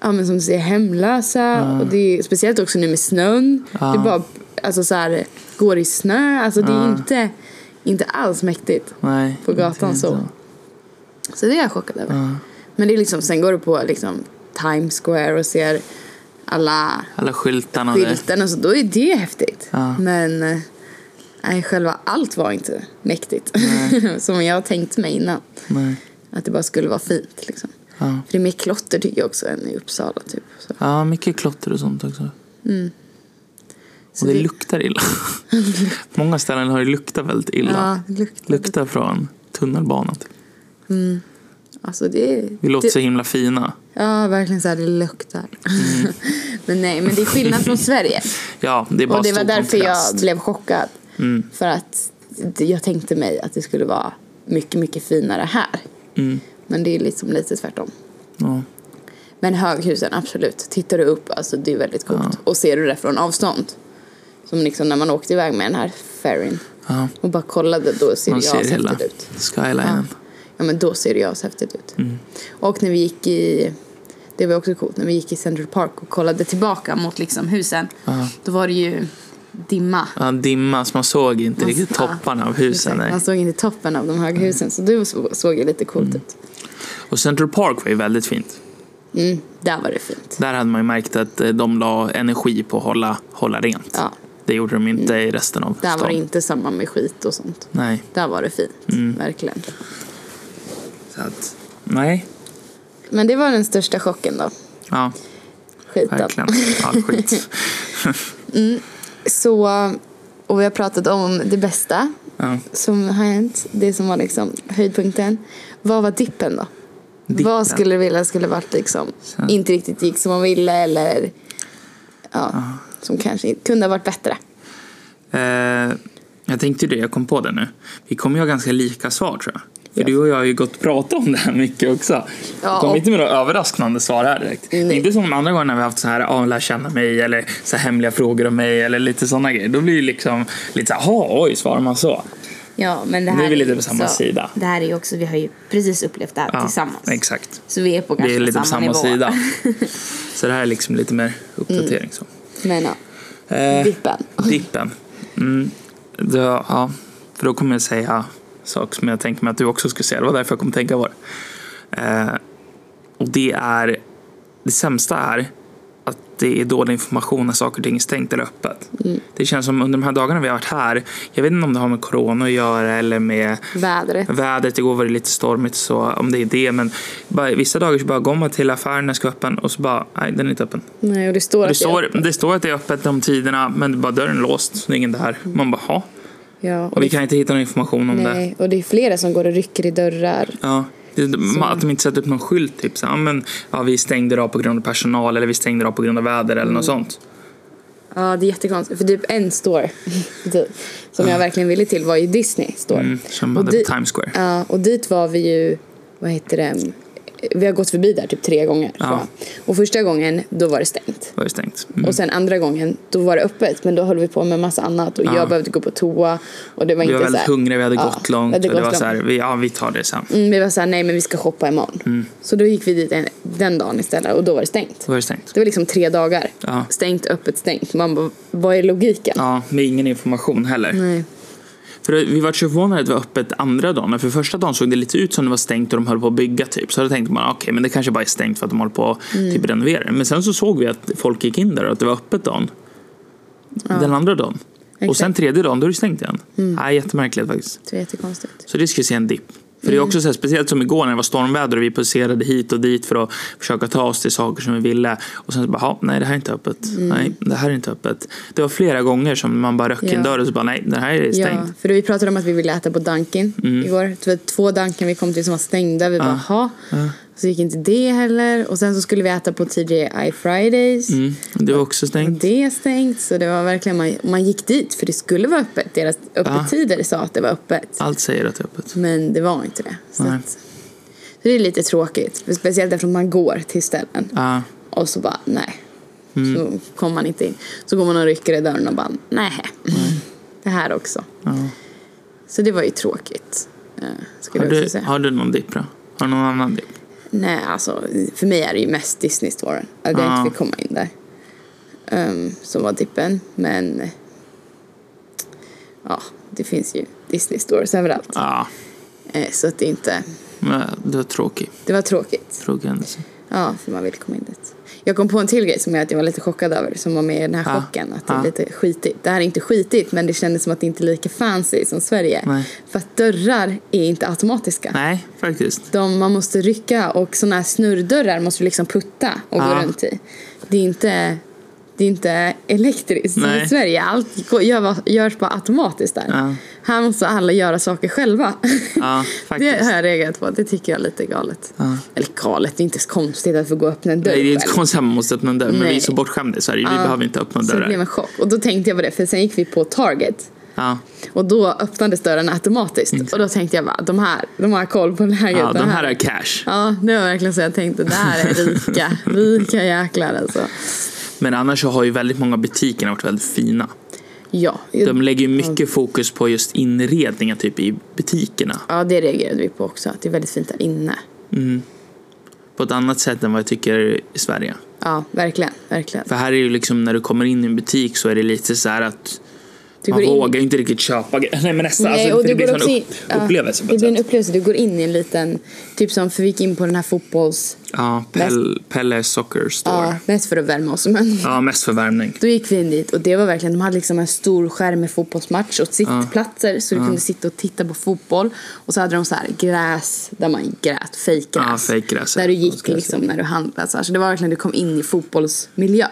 Speaker 1: ja, men som du säger, hemlösa. Och det är, speciellt också nu med snön. Det bara alltså, så här, går i snö. Alltså det är inte, inte alls mäktigt.
Speaker 2: Nej.
Speaker 1: På
Speaker 2: inte
Speaker 1: gatan
Speaker 2: rent
Speaker 1: så. Så det är jag chockad över. Men det är liksom, sen går du på liksom, Times Square och ser alla
Speaker 2: Alla skyltarna där.
Speaker 1: skylten och så, då är det häftigt.
Speaker 2: Ja.
Speaker 1: Men eh, nej, själva allt var inte mäktigt. Som jag tänkt mig innan.
Speaker 2: Nej.
Speaker 1: Att det bara skulle vara fint liksom.
Speaker 2: Ja.
Speaker 1: För det är mer klotter tycker jag också än i Uppsala typ. Så.
Speaker 2: ja, mycket klotter och sånt också.
Speaker 1: Så
Speaker 2: Och det
Speaker 1: Mm. det-
Speaker 2: luktar illa. Många ställen har det luktat väldigt illa.
Speaker 1: Ja, det luktar.
Speaker 2: Luktar från tunnelbanan. typ.
Speaker 1: Alltså det...
Speaker 2: Vi låter
Speaker 1: det
Speaker 2: så himla fina.
Speaker 1: ja, verkligen så här, det luktar. men nej, men det är skillnad från Sverige.
Speaker 2: Ja, Mm. det är bara
Speaker 1: Och det var
Speaker 2: stor
Speaker 1: därför jag
Speaker 2: kontrast. Mm.
Speaker 1: blev chockad. För att jag tänkte mig att det skulle vara mycket, mycket finare här. Men det är liksom lite tvärtom.
Speaker 2: Mm. Ja.
Speaker 1: Men höghusen, absolut. Tittar du upp, alltså det är väldigt coolt. Och ser du det från avstånd. Som liksom när man åkte iväg med den här ferryn.
Speaker 2: Ja,
Speaker 1: Och bara kollade, då ser
Speaker 2: man
Speaker 1: det
Speaker 2: ser
Speaker 1: ashäftigt
Speaker 2: hela
Speaker 1: ut.
Speaker 2: skylinen.
Speaker 1: Ja men då ser det ju ashäftigt ut.
Speaker 2: Mm.
Speaker 1: Och när vi gick i, det var också coolt, när vi gick i Central Park och kollade tillbaka mot liksom husen. Då var det ju dimma.
Speaker 2: Ja, dimma, så man såg inte riktigt
Speaker 1: Ja.
Speaker 2: topparna av husen.
Speaker 1: Exakt,
Speaker 2: nej. Mm.
Speaker 1: Man såg inte toppen av de höga husen så det så- såg ju lite coolt ut.
Speaker 2: Och Central Park var ju väldigt fint.
Speaker 1: Mm, där var det fint.
Speaker 2: Där hade man ju märkt att eh, de la energi på att hålla, hålla rent.
Speaker 1: Ja, Mm.
Speaker 2: Det gjorde de inte i resten av
Speaker 1: där
Speaker 2: stan.
Speaker 1: var det inte samma med skit och sånt.
Speaker 2: Nej.
Speaker 1: Där var det fint,
Speaker 2: Mm.
Speaker 1: verkligen.
Speaker 2: Så att, nej.
Speaker 1: Men det var den största chocken då,
Speaker 2: Ja,
Speaker 1: skiten.
Speaker 2: verkligen. Ja, skit.
Speaker 1: Så, och vi har pratat om det bästa
Speaker 2: Ja.
Speaker 1: som har hänt, det som var liksom höjdpunkten. Vad var dippen då?
Speaker 2: Dippen.
Speaker 1: Vad skulle du vilja skulle varit liksom, inte riktigt gick som man ville eller ja, som kanske inte- kunde ha varit bättre?
Speaker 2: Eh, jag tänkte ju det, jag kom på det nu. Vi kommer ju ha ganska lika svar tror jag. För du och jag har ju gått och pratat om det här mycket också.
Speaker 1: Ja,
Speaker 2: Ja, kom
Speaker 1: och-
Speaker 2: inte med några överraskande svar här direkt.
Speaker 1: Nej.
Speaker 2: Inte som de andra gångerna vi har haft så här, ah, lär känna mig eller så här hemliga frågor om mig eller lite sådana grejer. Då blir det liksom lite så här, "Ha, oj, svarar man så?
Speaker 1: Ja, men det
Speaker 2: Nu
Speaker 1: här
Speaker 2: är vi lite
Speaker 1: ju
Speaker 2: på samma
Speaker 1: också-
Speaker 2: sida.
Speaker 1: Det här är ju också, vi har ju precis upplevt det här
Speaker 2: Ja,
Speaker 1: tillsammans.
Speaker 2: Exakt.
Speaker 1: Så vi är på
Speaker 2: Det
Speaker 1: ganska
Speaker 2: är lite på samma
Speaker 1: nivå.
Speaker 2: sida. Så det här är liksom lite mer uppdatering. Så.
Speaker 1: Men ja,
Speaker 2: Eh,
Speaker 1: dippen.
Speaker 2: Dippen. Mm, då, ja, för då kommer jag säga saker som jag tänker mig att du också skulle säga. Det var därför jag kom att tänka på det. Eh, och det är... Det sämsta är att det är dålig information när saker och ting är stängt eller öppet.
Speaker 1: Mm.
Speaker 2: Det känns som under de här dagarna vi har varit här, jag vet inte om det har med corona att göra eller med
Speaker 1: Vädret.
Speaker 2: vädret. Igår var det lite stormigt, så om det är det. Men bara, vissa dagar så bara går man till affären, den ska öppen och så bara, nej den är inte öppen.
Speaker 1: Nej, och det står
Speaker 2: Det
Speaker 1: att jag-
Speaker 2: står, det står att det är öppet om tiderna, men det är bara dörren låst, så det är ingen där. Man bara, ha.
Speaker 1: Ja, och
Speaker 2: Och vi kan inte hitta någon information om det.
Speaker 1: Nej, och det är flera som går och rycker i dörrar.
Speaker 2: Ja. Det- man- Att de inte sätter upp någon skylt, typ så, här, ja, men, ja, vi stängde idag på grund av personal eller vi stängde idag på grund av väder eller något
Speaker 1: Mm.
Speaker 2: sånt.
Speaker 1: Ja, det är jättekonstigt. För typ en store typ, som jag verkligen ville till var ju Disney store.
Speaker 2: Mm, som
Speaker 1: Och
Speaker 2: hade
Speaker 1: di-
Speaker 2: på Times Square.
Speaker 1: Ja, och dit var vi ju, vad heter det, vi har gått förbi där typ tre gånger. tror
Speaker 2: Ja.
Speaker 1: jag. Och första gången, då var det stängt.
Speaker 2: Var det stängt. Mm.
Speaker 1: Och sen andra gången, då var det öppet men då höll vi på med massa annat och
Speaker 2: Ja.
Speaker 1: jag behövde gå på toa och det var inte
Speaker 2: Vi var
Speaker 1: så
Speaker 2: väldigt
Speaker 1: här-
Speaker 2: hungriga, vi hade
Speaker 1: Ja,
Speaker 2: gått långt.
Speaker 1: vi hade
Speaker 2: och det
Speaker 1: gått
Speaker 2: var så här,
Speaker 1: långt.
Speaker 2: vi, ja, vi tar det sen.
Speaker 1: Mm, vi var såhär, nej men vi ska shoppa imorgon.
Speaker 2: Mm.
Speaker 1: Så då gick vi dit en, den dagen istället och då var det stängt.
Speaker 2: Då var det stängt.
Speaker 1: Det var liksom tre dagar.
Speaker 2: Ja.
Speaker 1: Stängt, öppet, stängt. Man bara, vad är logiken?
Speaker 2: Ja, med ingen information heller.
Speaker 1: Nej.
Speaker 2: För vi var så förvånade att det var öppet andra dagen. För första dagen såg det lite ut som det var stängt och de höll på att bygga typ. Så då tänkte man okej, men det kanske bara är stängt för att de håller på att
Speaker 1: Mm.
Speaker 2: typ renovera det. Men sen så såg vi att folk gick in där och att det var öppet dagen. Den andra dagen. Och sen
Speaker 1: Exakt. Mm.
Speaker 2: tredje dagen, då är det stängt igen. Nej, jättemärkligt faktiskt.
Speaker 1: Det var jättekonstigt.
Speaker 2: Så det skulle jag säga en dipp. För det
Speaker 1: Mm.
Speaker 2: är också så här, speciellt som igår när det var stormväder och vi passerade hit och dit för att försöka ta oss till saker som vi ville. Och sen så bara, "Ja, nej det här är inte öppet.
Speaker 1: Mm.
Speaker 2: Nej, det här är inte öppet. Det var flera gånger som man bara röck i en
Speaker 1: Ja.
Speaker 2: dörr och så bara, nej det här är stängt.
Speaker 1: Ja, för vi pratade om att vi ville äta på Dunkin
Speaker 2: Mm.
Speaker 1: igår. Det var två Dunkin vi kom till som var stängda. Vi bara, ha. Så gick inte det heller. Och sen så skulle vi äta på TGI Fridays.
Speaker 2: Mm, det var också stängt.
Speaker 1: Det är stängt, så det var verkligen, man, man gick dit för det skulle vara öppet. Deras öppettider sa att det var öppet.
Speaker 2: Allt säger att det är öppet.
Speaker 1: Men det var inte det. Så,
Speaker 2: Nej.
Speaker 1: att, så det är lite tråkigt. för Speciellt eftersom man går till ställen.
Speaker 2: Ja, Mm.
Speaker 1: Och så bara, nej. Så kommer man inte in. Så går man och rycker i dörren och bara, nej. Det här också.
Speaker 2: ja.
Speaker 1: Så det var ju tråkigt. eh, Skulle
Speaker 2: har,
Speaker 1: jag också
Speaker 2: du,
Speaker 1: säga.
Speaker 2: har du någon dipp då? Har du någon annan dipp?
Speaker 1: Nej, alltså för mig är det ju mest Disney Storen. Att jag
Speaker 2: Ja.
Speaker 1: inte fick komma in där. Um, som var dippen. Men eh, ja, det finns ju Disney Stores överallt.
Speaker 2: Ja,
Speaker 1: Eh, så att det inte,
Speaker 2: men det var tråkigt.
Speaker 1: det var tråkigt.
Speaker 2: Tråkig händelse.
Speaker 1: Ja, för man vill komma in dit. Jag kom på en till grej som jag, att jag var lite chockad över, som var med i den här
Speaker 2: Ja.
Speaker 1: chocken. Att det
Speaker 2: Ja.
Speaker 1: är lite skitigt. Det här är inte skitigt, men det kändes som att det inte är lika fancy som Sverige.
Speaker 2: Nej.
Speaker 1: För att dörrar är inte automatiska.
Speaker 2: Nej, faktiskt.
Speaker 1: de, man måste rycka och sådana här snurrdörrar måste du liksom putta och gå
Speaker 2: Ja.
Speaker 1: runt i. Det är inte, det är inte elektriskt som
Speaker 2: Nej.
Speaker 1: i Sverige. Allt går- gör, görs bara automatiskt där.
Speaker 2: Ja.
Speaker 1: Här måste alla göra saker själva.
Speaker 2: Ja, faktiskt.
Speaker 1: Det har jag reagerat på. Det tycker jag är lite galet. Eller galet, det är inte så konstigt att få gå och öppna en dörr
Speaker 2: Nej, det är inte
Speaker 1: själv.
Speaker 2: konstigt att man måste öppna en dörr, men vi är
Speaker 1: Nej.
Speaker 2: så bortskämda i Sverige. Vi behöver inte öppna
Speaker 1: Så det blev
Speaker 2: dörrar.
Speaker 1: en chock. Och då tänkte jag på det, för sen gick vi på Target.
Speaker 2: Ja.
Speaker 1: Och då öppnades dörren automatiskt. Och då tänkte jag bara, de här, de har koll på läget.
Speaker 2: Mm. ja,
Speaker 1: de
Speaker 2: de här har cash.
Speaker 1: Ja, det var verkligen så jag tänkte. Det här är rika. Rika jäklar alltså.
Speaker 2: Men annars så har ju väldigt många butikerna varit väldigt fina.
Speaker 1: Ja,
Speaker 2: De lägger ju mycket fokus på just inredningen typ i butikerna.
Speaker 1: ja, det reagerade vi på också. Att det är väldigt fint där inne.
Speaker 2: På ett annat sätt än vad jag tycker i Sverige.
Speaker 1: Ja, verkligen. verkligen.
Speaker 2: För här är ju liksom när du kommer in i en butik så är det lite så här att
Speaker 1: Du
Speaker 2: man
Speaker 1: går in-
Speaker 2: vågar ju inte riktigt köpa grejer. Nej men nästan.
Speaker 1: Nej,
Speaker 2: alltså,
Speaker 1: och
Speaker 2: för
Speaker 1: du
Speaker 2: det blir
Speaker 1: går
Speaker 2: som
Speaker 1: också
Speaker 2: en
Speaker 1: in,
Speaker 2: upp-
Speaker 1: ja,
Speaker 2: upplevelse på
Speaker 1: det
Speaker 2: ett
Speaker 1: blir en
Speaker 2: sätt.
Speaker 1: upplevelse. Du går in i en liten, typ som för vi gick in på den här fotbolls...
Speaker 2: Ja, Pelle, Pelle Soccer Store.
Speaker 1: Ja, mest för att värma oss. Men
Speaker 2: Ja, mest för värmning.
Speaker 1: då gick vi in dit och det var verkligen, de hade liksom en stor skärm med fotbollsmatch och sittplatser så du kunde sitta och titta på fotboll. Och så hade de så här gräs, där man grät, fejkgräs.
Speaker 2: Ja, fejkgräs, ja.
Speaker 1: Där du
Speaker 2: Jag
Speaker 1: gick
Speaker 2: skulle
Speaker 1: liksom när du handlade. Så, här. så det var verkligen, du kom in i fotbollsmiljö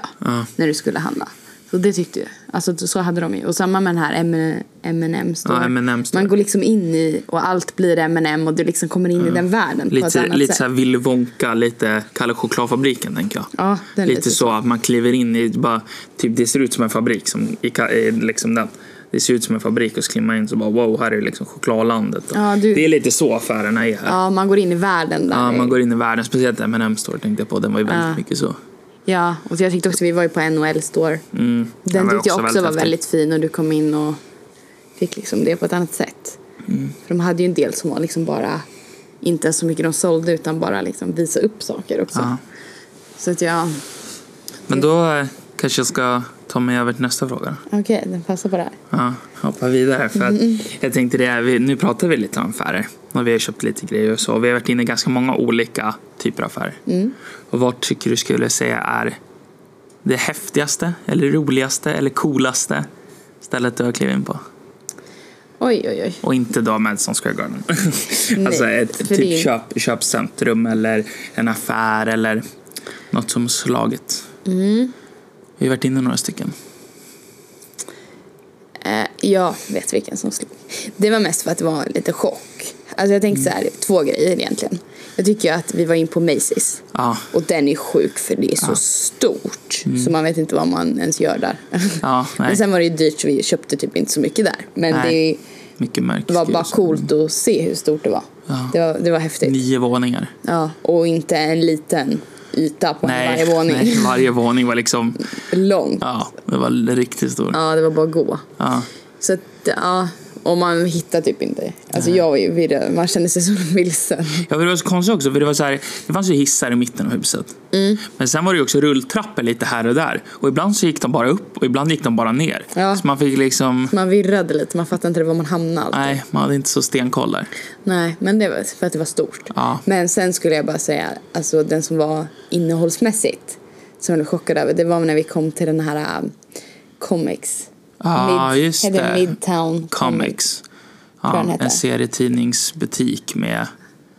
Speaker 1: när du skulle handla. Så det tyckte jag. Alltså så hade de ju. Och samma med den här M&M M&M store.
Speaker 2: Ja, M&M store.
Speaker 1: Man går liksom in i och allt blir M&M och du liksom kommer in i den världen på ett
Speaker 2: Lite,
Speaker 1: annat
Speaker 2: lite
Speaker 1: sätt.
Speaker 2: så här Willy Wonka, lite Kalle Chokladfabriken tänker jag.
Speaker 1: Ja, den är
Speaker 2: lite
Speaker 1: lite
Speaker 2: så, att man kliver in i, bara, typ, det ser ut som en fabrik. Som, i, Ka- i liksom den. Det ser ut som en fabrik och så kliver man in så bara wow, här är liksom chokladlandet.
Speaker 1: Ja, du-
Speaker 2: Det är lite så affärerna är här.
Speaker 1: Ja, man går in i världen där.
Speaker 2: Ja, man går in i världen, speciellt M&M store tänkte jag på, den var ju väldigt
Speaker 1: Ja.
Speaker 2: mycket så. Mm.
Speaker 1: Ja, och jag tyckte också vi var ju på NHL Store.
Speaker 2: den
Speaker 1: Den
Speaker 2: var
Speaker 1: tyckte jag
Speaker 2: också
Speaker 1: också
Speaker 2: väldigt
Speaker 1: var
Speaker 2: häftig.
Speaker 1: väldigt fin och du kom in och fick liksom det på ett annat sätt.
Speaker 2: Mm.
Speaker 1: För de hade ju en del som var liksom bara, inte så mycket de sålde utan bara liksom visa upp saker också.
Speaker 2: Ja.
Speaker 1: Så att jag,
Speaker 2: Men då eh, kanske jag ska ta mig över till nästa fråga. då.
Speaker 1: okej den passar på det här.
Speaker 2: Ja, hoppa vidare. För att
Speaker 1: Mm.
Speaker 2: jag tänkte det, är- vi, nu pratar vi lite om affärer. Och vi har köpt lite grejer och så. Vi har varit inne i ganska många olika typer av affärer.
Speaker 1: Mm.
Speaker 2: Och vad tycker du skulle säga är det häftigaste, eller roligaste, eller coolaste stället du har klivit in på?
Speaker 1: Oj, oj, oj.
Speaker 2: Och inte då Madison Square Garden. alltså
Speaker 1: Nej,
Speaker 2: ett
Speaker 1: för
Speaker 2: typ
Speaker 1: det är-
Speaker 2: köp, köpcentrum eller en affär eller något som slagit.
Speaker 1: Mm.
Speaker 2: Vi har varit inne i några stycken.
Speaker 1: Eh, jag vet vilken som slog. Det var mest för att det var lite chock. Alltså jag
Speaker 2: Mm.
Speaker 1: tänkte så här, två grejer egentligen. Jag tycker ju att vi var in på Macy's.
Speaker 2: Ja.
Speaker 1: Och den är sjuk för det är så stort.
Speaker 2: Mm.
Speaker 1: Så man vet inte vad man ens gör där.
Speaker 2: Ja, nej.
Speaker 1: Men sen var det ju dyrt så vi köpte typ inte så mycket där. Men
Speaker 2: Nej. Mycket mörkt.
Speaker 1: det var bara coolt att se hur stort det var.
Speaker 2: Ja.
Speaker 1: Det, var det var häftigt.
Speaker 2: Nio våningar.
Speaker 1: Ja. Och inte en liten yta på varje våning.
Speaker 2: nej, varje våning var liksom,
Speaker 1: Långt. Ja.
Speaker 2: ja, det var riktigt stor. Ja.
Speaker 1: det var bara att gå. Så att, ja. Och man hittar typ inte. Alltså jag var ju virre. Man kände sig så vilsen.
Speaker 2: Ja, men det var så konstigt också, för det var så här, det fanns ju hissar i mitten av huset.
Speaker 1: Mm.
Speaker 2: Men sen var det ju också rulltrappor lite här och där. Och ibland så gick de bara upp och ibland gick de bara ner.
Speaker 1: Ja.
Speaker 2: Så man fick liksom,
Speaker 1: Man virrade lite. Man fattade inte var man hamnade.
Speaker 2: nej, man hade inte så stenkoll där.
Speaker 1: Nej, men det var för att det var stort.
Speaker 2: Ja.
Speaker 1: Men sen skulle jag bara säga, alltså den som var innehållsmässigt som jag blev chockad över, det var när vi kom till den här um, Comics.
Speaker 2: Ja,
Speaker 1: Mid-
Speaker 2: Ah, just
Speaker 1: heter
Speaker 2: det.
Speaker 1: Midtown
Speaker 2: Comics.
Speaker 1: jag
Speaker 2: Ja,
Speaker 1: den hette.
Speaker 2: en serietidningsbutik med,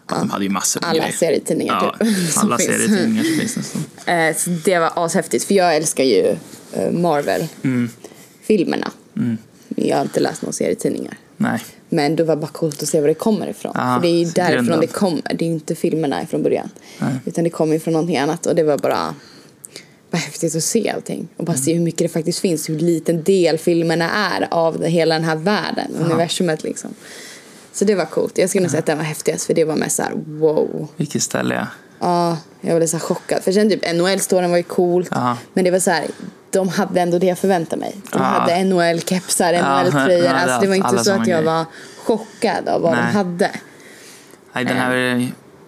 Speaker 2: ja. de hade ju massor med
Speaker 1: Alla
Speaker 2: grejer.
Speaker 1: serietidningar,
Speaker 2: ja,
Speaker 1: typ, som
Speaker 2: Alla
Speaker 1: finns.
Speaker 2: serietidningar som finns nästan.
Speaker 1: Eh, så det var ashäftigt, för jag älskar ju eh,
Speaker 2: Mm.
Speaker 1: Marvel-filmerna. Jag har inte läst några serietidningar.
Speaker 2: Nej.
Speaker 1: Men det var bara coolt att se var det kommer ifrån.
Speaker 2: Ja,
Speaker 1: för det är ju
Speaker 2: så
Speaker 1: därifrån
Speaker 2: grunden.
Speaker 1: det kommer. Det är ju inte filmerna från början. Utan det kommer ju från någonting annat. Och det var bara, bara häftigt att se allting. Och bara se hur mycket det faktiskt finns. Hur liten del filmerna är av det, hela den här världen. Universumet liksom. Så det var coolt. Jag skulle nog säga att den var häftigast. För det var mest såhär wow.
Speaker 2: Vilket ställe är
Speaker 1: Ja, jag blev så här chockad. För sen typ NHL-storen var ju coolt.
Speaker 2: Ja.
Speaker 1: Men det var så här, de hade ändå det jag förväntade mig. De
Speaker 2: Ja.
Speaker 1: hade NHL-kepsar, NHL-tröjor.
Speaker 2: ja, det
Speaker 1: alltså, det
Speaker 2: hade
Speaker 1: var inte
Speaker 2: alla
Speaker 1: så att
Speaker 2: såna
Speaker 1: jag
Speaker 2: grejer.
Speaker 1: var chockad av vad de
Speaker 2: Nej.
Speaker 1: hade.
Speaker 2: Nej, den
Speaker 1: Eh.
Speaker 2: här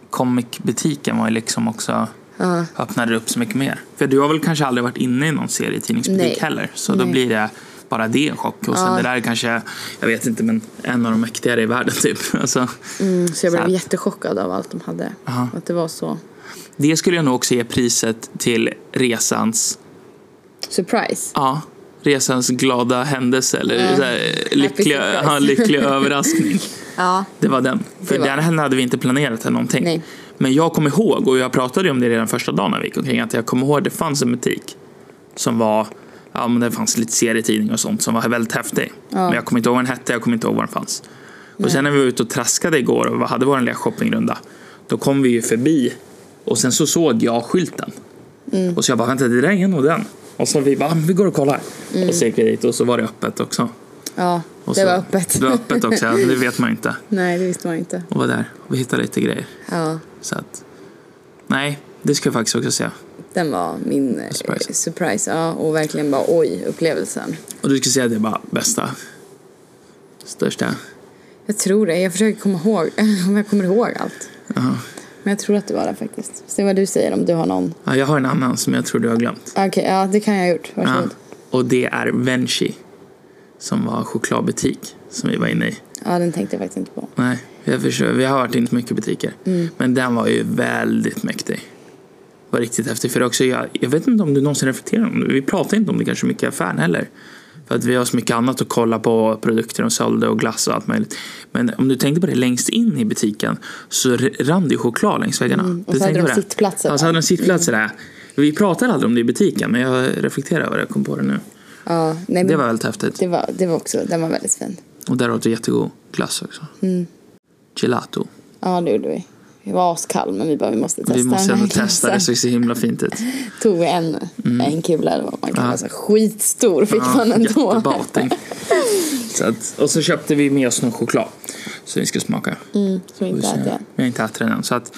Speaker 2: comicbutiken var ju liksom också öppnade upp så mycket mer. För du har väl kanske aldrig varit inne i någon serietidningsbutik
Speaker 1: Nej.
Speaker 2: heller. Så då
Speaker 1: Nej.
Speaker 2: blir det bara det en chock. Och sen det där är kanske, jag vet inte, men en av de mäktigare i världen typ. Alltså,
Speaker 1: Mm, så jag blev
Speaker 2: Så att-
Speaker 1: jättechockad av allt de hade. Att det var så
Speaker 2: det skulle jag nog också ge priset till resans,
Speaker 1: surprise.
Speaker 2: ja, resans glada händelse eller så här, lyckliga,
Speaker 1: surprise.
Speaker 2: ja, lyckliga överraskning.
Speaker 1: Ja.
Speaker 2: Det var den. För
Speaker 1: Det var-
Speaker 2: den hade vi inte planerat eller någonting.
Speaker 1: Nej.
Speaker 2: Men jag kommer ihåg, och jag pratade ju om det redan första dagen när vi gick omkring, att jag kommer ihåg att det fanns en butik som var, ja men det fanns lite serietidningar och sånt som var väldigt häftig. Men jag kommer inte ihåg vad den hette, jag kommer inte ihåg var den fanns. Och sen när vi var ute och traskade igår och hade vår lilla shoppingrunda, då kom vi ju förbi och sen så såg jag skylten.
Speaker 1: Mm.
Speaker 2: Och så jag bara, vänta det där är nog den. Och så vi bara, "Ah, men vi går och kollar. Och så gick vi dit och så var det öppet också.
Speaker 1: Ja, Mm.
Speaker 2: Och
Speaker 1: det
Speaker 2: så-
Speaker 1: var öppet.
Speaker 2: Det var öppet också, ja, det vet man ju inte.
Speaker 1: Nej, det visste man inte.
Speaker 2: Och var där och vi hittade lite grejer.
Speaker 1: Ja,
Speaker 2: Så att, nej, det ska jag faktiskt också säga.
Speaker 1: den var min eh,
Speaker 2: Surprise.
Speaker 1: surprise. Ja, och verkligen bara oj, upplevelsen.
Speaker 2: Och du skulle säga att det är bara bästa, största.
Speaker 1: Jag tror det. Jag försöker komma ihåg om jag kommer ihåg allt.
Speaker 2: Jaha.
Speaker 1: Men jag tror att det var det faktiskt. Se vad du säger om du har någon.
Speaker 2: Ja, jag har en annan som jag tror du har glömt.
Speaker 1: Okej, ja det kan jag ha gjort.
Speaker 2: Ja.
Speaker 1: Varsågod.
Speaker 2: Och det är Venchi, som var chokladbutik som vi var inne i.
Speaker 1: Ja. den tänkte jag faktiskt inte på.
Speaker 2: Nej, jag försöker, vi har varit inne på mycket butiker.
Speaker 1: Mm.
Speaker 2: Men den var ju väldigt mäktig. Var riktigt häftig. För det också, jag, jag vet inte om du någonsin reflekterar om det. Vi pratar inte om det kanske mycket i affären heller. För att vi har så mycket annat att kolla på. Produkter de sålde och glass och allt möjligt. Men om du tänkte på det längst in i butiken så r- rann det ju choklad längs väggarna. Mm.
Speaker 1: och så hade de sittplatser
Speaker 2: Ja, så
Speaker 1: där. Mm.
Speaker 2: hade de sittplatser där. Vi pratade aldrig om det i butiken men jag reflekterar över det. Jag kom på det nu.
Speaker 1: Ja, nej, men
Speaker 2: Det var väldigt häftigt.
Speaker 1: det var, det var också, den var väldigt fin.
Speaker 2: Och där åt vi jättegod glass också.
Speaker 1: Mm.
Speaker 2: Gelato.
Speaker 1: Ja, det gjorde vi. Vi var askall men vi bara, vi måste testa
Speaker 2: Vi måste
Speaker 1: den
Speaker 2: ändå
Speaker 1: här
Speaker 2: testa, det
Speaker 1: glassen.
Speaker 2: såg så Mm. himla fint ut.
Speaker 1: Tog vi en, en kula eller vad man kallar det. Skitstor fick man ändå.
Speaker 2: jättebating. Så att, och så köpte vi med oss någon choklad som vi ska smaka.
Speaker 1: Mm, som
Speaker 2: Vi
Speaker 1: inte
Speaker 2: ser-
Speaker 1: äter jag.
Speaker 2: Vi har inte ätit den än, så att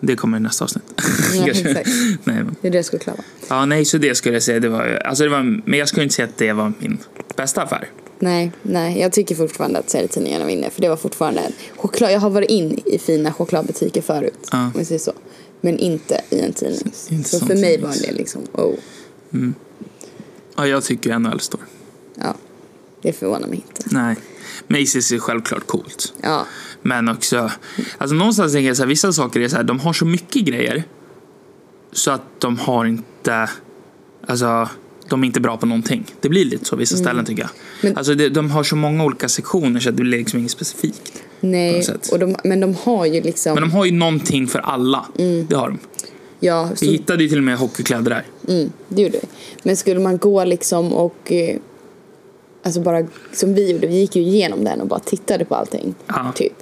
Speaker 2: det kommer i nästa avsnitt.
Speaker 1: Ja,
Speaker 2: Kanske.
Speaker 1: exakt.
Speaker 2: nej, men,
Speaker 1: Det är det jag skulle klara.
Speaker 2: ja, nej, så det skulle jag säga. Det var, ju- alltså det var, men jag skulle inte säga att det var min bästa affär.
Speaker 1: Nej, nej, jag tycker fortfarande att serietidningarna vinner. För det var fortfarande en choklad. Jag har varit in i fina chokladbutiker förut.
Speaker 2: Ja.
Speaker 1: Om vi säger så. Men inte i en tidning.
Speaker 2: Inte
Speaker 1: så
Speaker 2: som
Speaker 1: för mig var
Speaker 2: tidnings.
Speaker 1: det liksom, oh.
Speaker 2: Ja, jag tycker ju NHL står.
Speaker 1: Ja, det förvånar mig inte.
Speaker 2: Nej. Macy's är självklart coolt.
Speaker 1: Ja,
Speaker 2: Men också, alltså någonstans tänker jag så här, vissa saker är så här, de har så mycket grejer så att de har inte, alltså de är inte bra på någonting. Det blir lite så vissa ställen tycker jag.
Speaker 1: Mm. Men-
Speaker 2: alltså det, de har så många olika sektioner så att det blir liksom inget specifikt. På
Speaker 1: nej.
Speaker 2: något sätt.
Speaker 1: Och de, men de har ju liksom.
Speaker 2: Men de har ju någonting för alla. Det har de.
Speaker 1: ja,
Speaker 2: Vi
Speaker 1: Mm. så,
Speaker 2: hittade ju till och med hockeykläder där.
Speaker 1: mm, det gjorde vi. Men skulle man gå liksom och. eh, Alltså bara som vi gjorde. Vi gick ju igenom den och bara tittade på allting.
Speaker 2: Ja.
Speaker 1: Typ.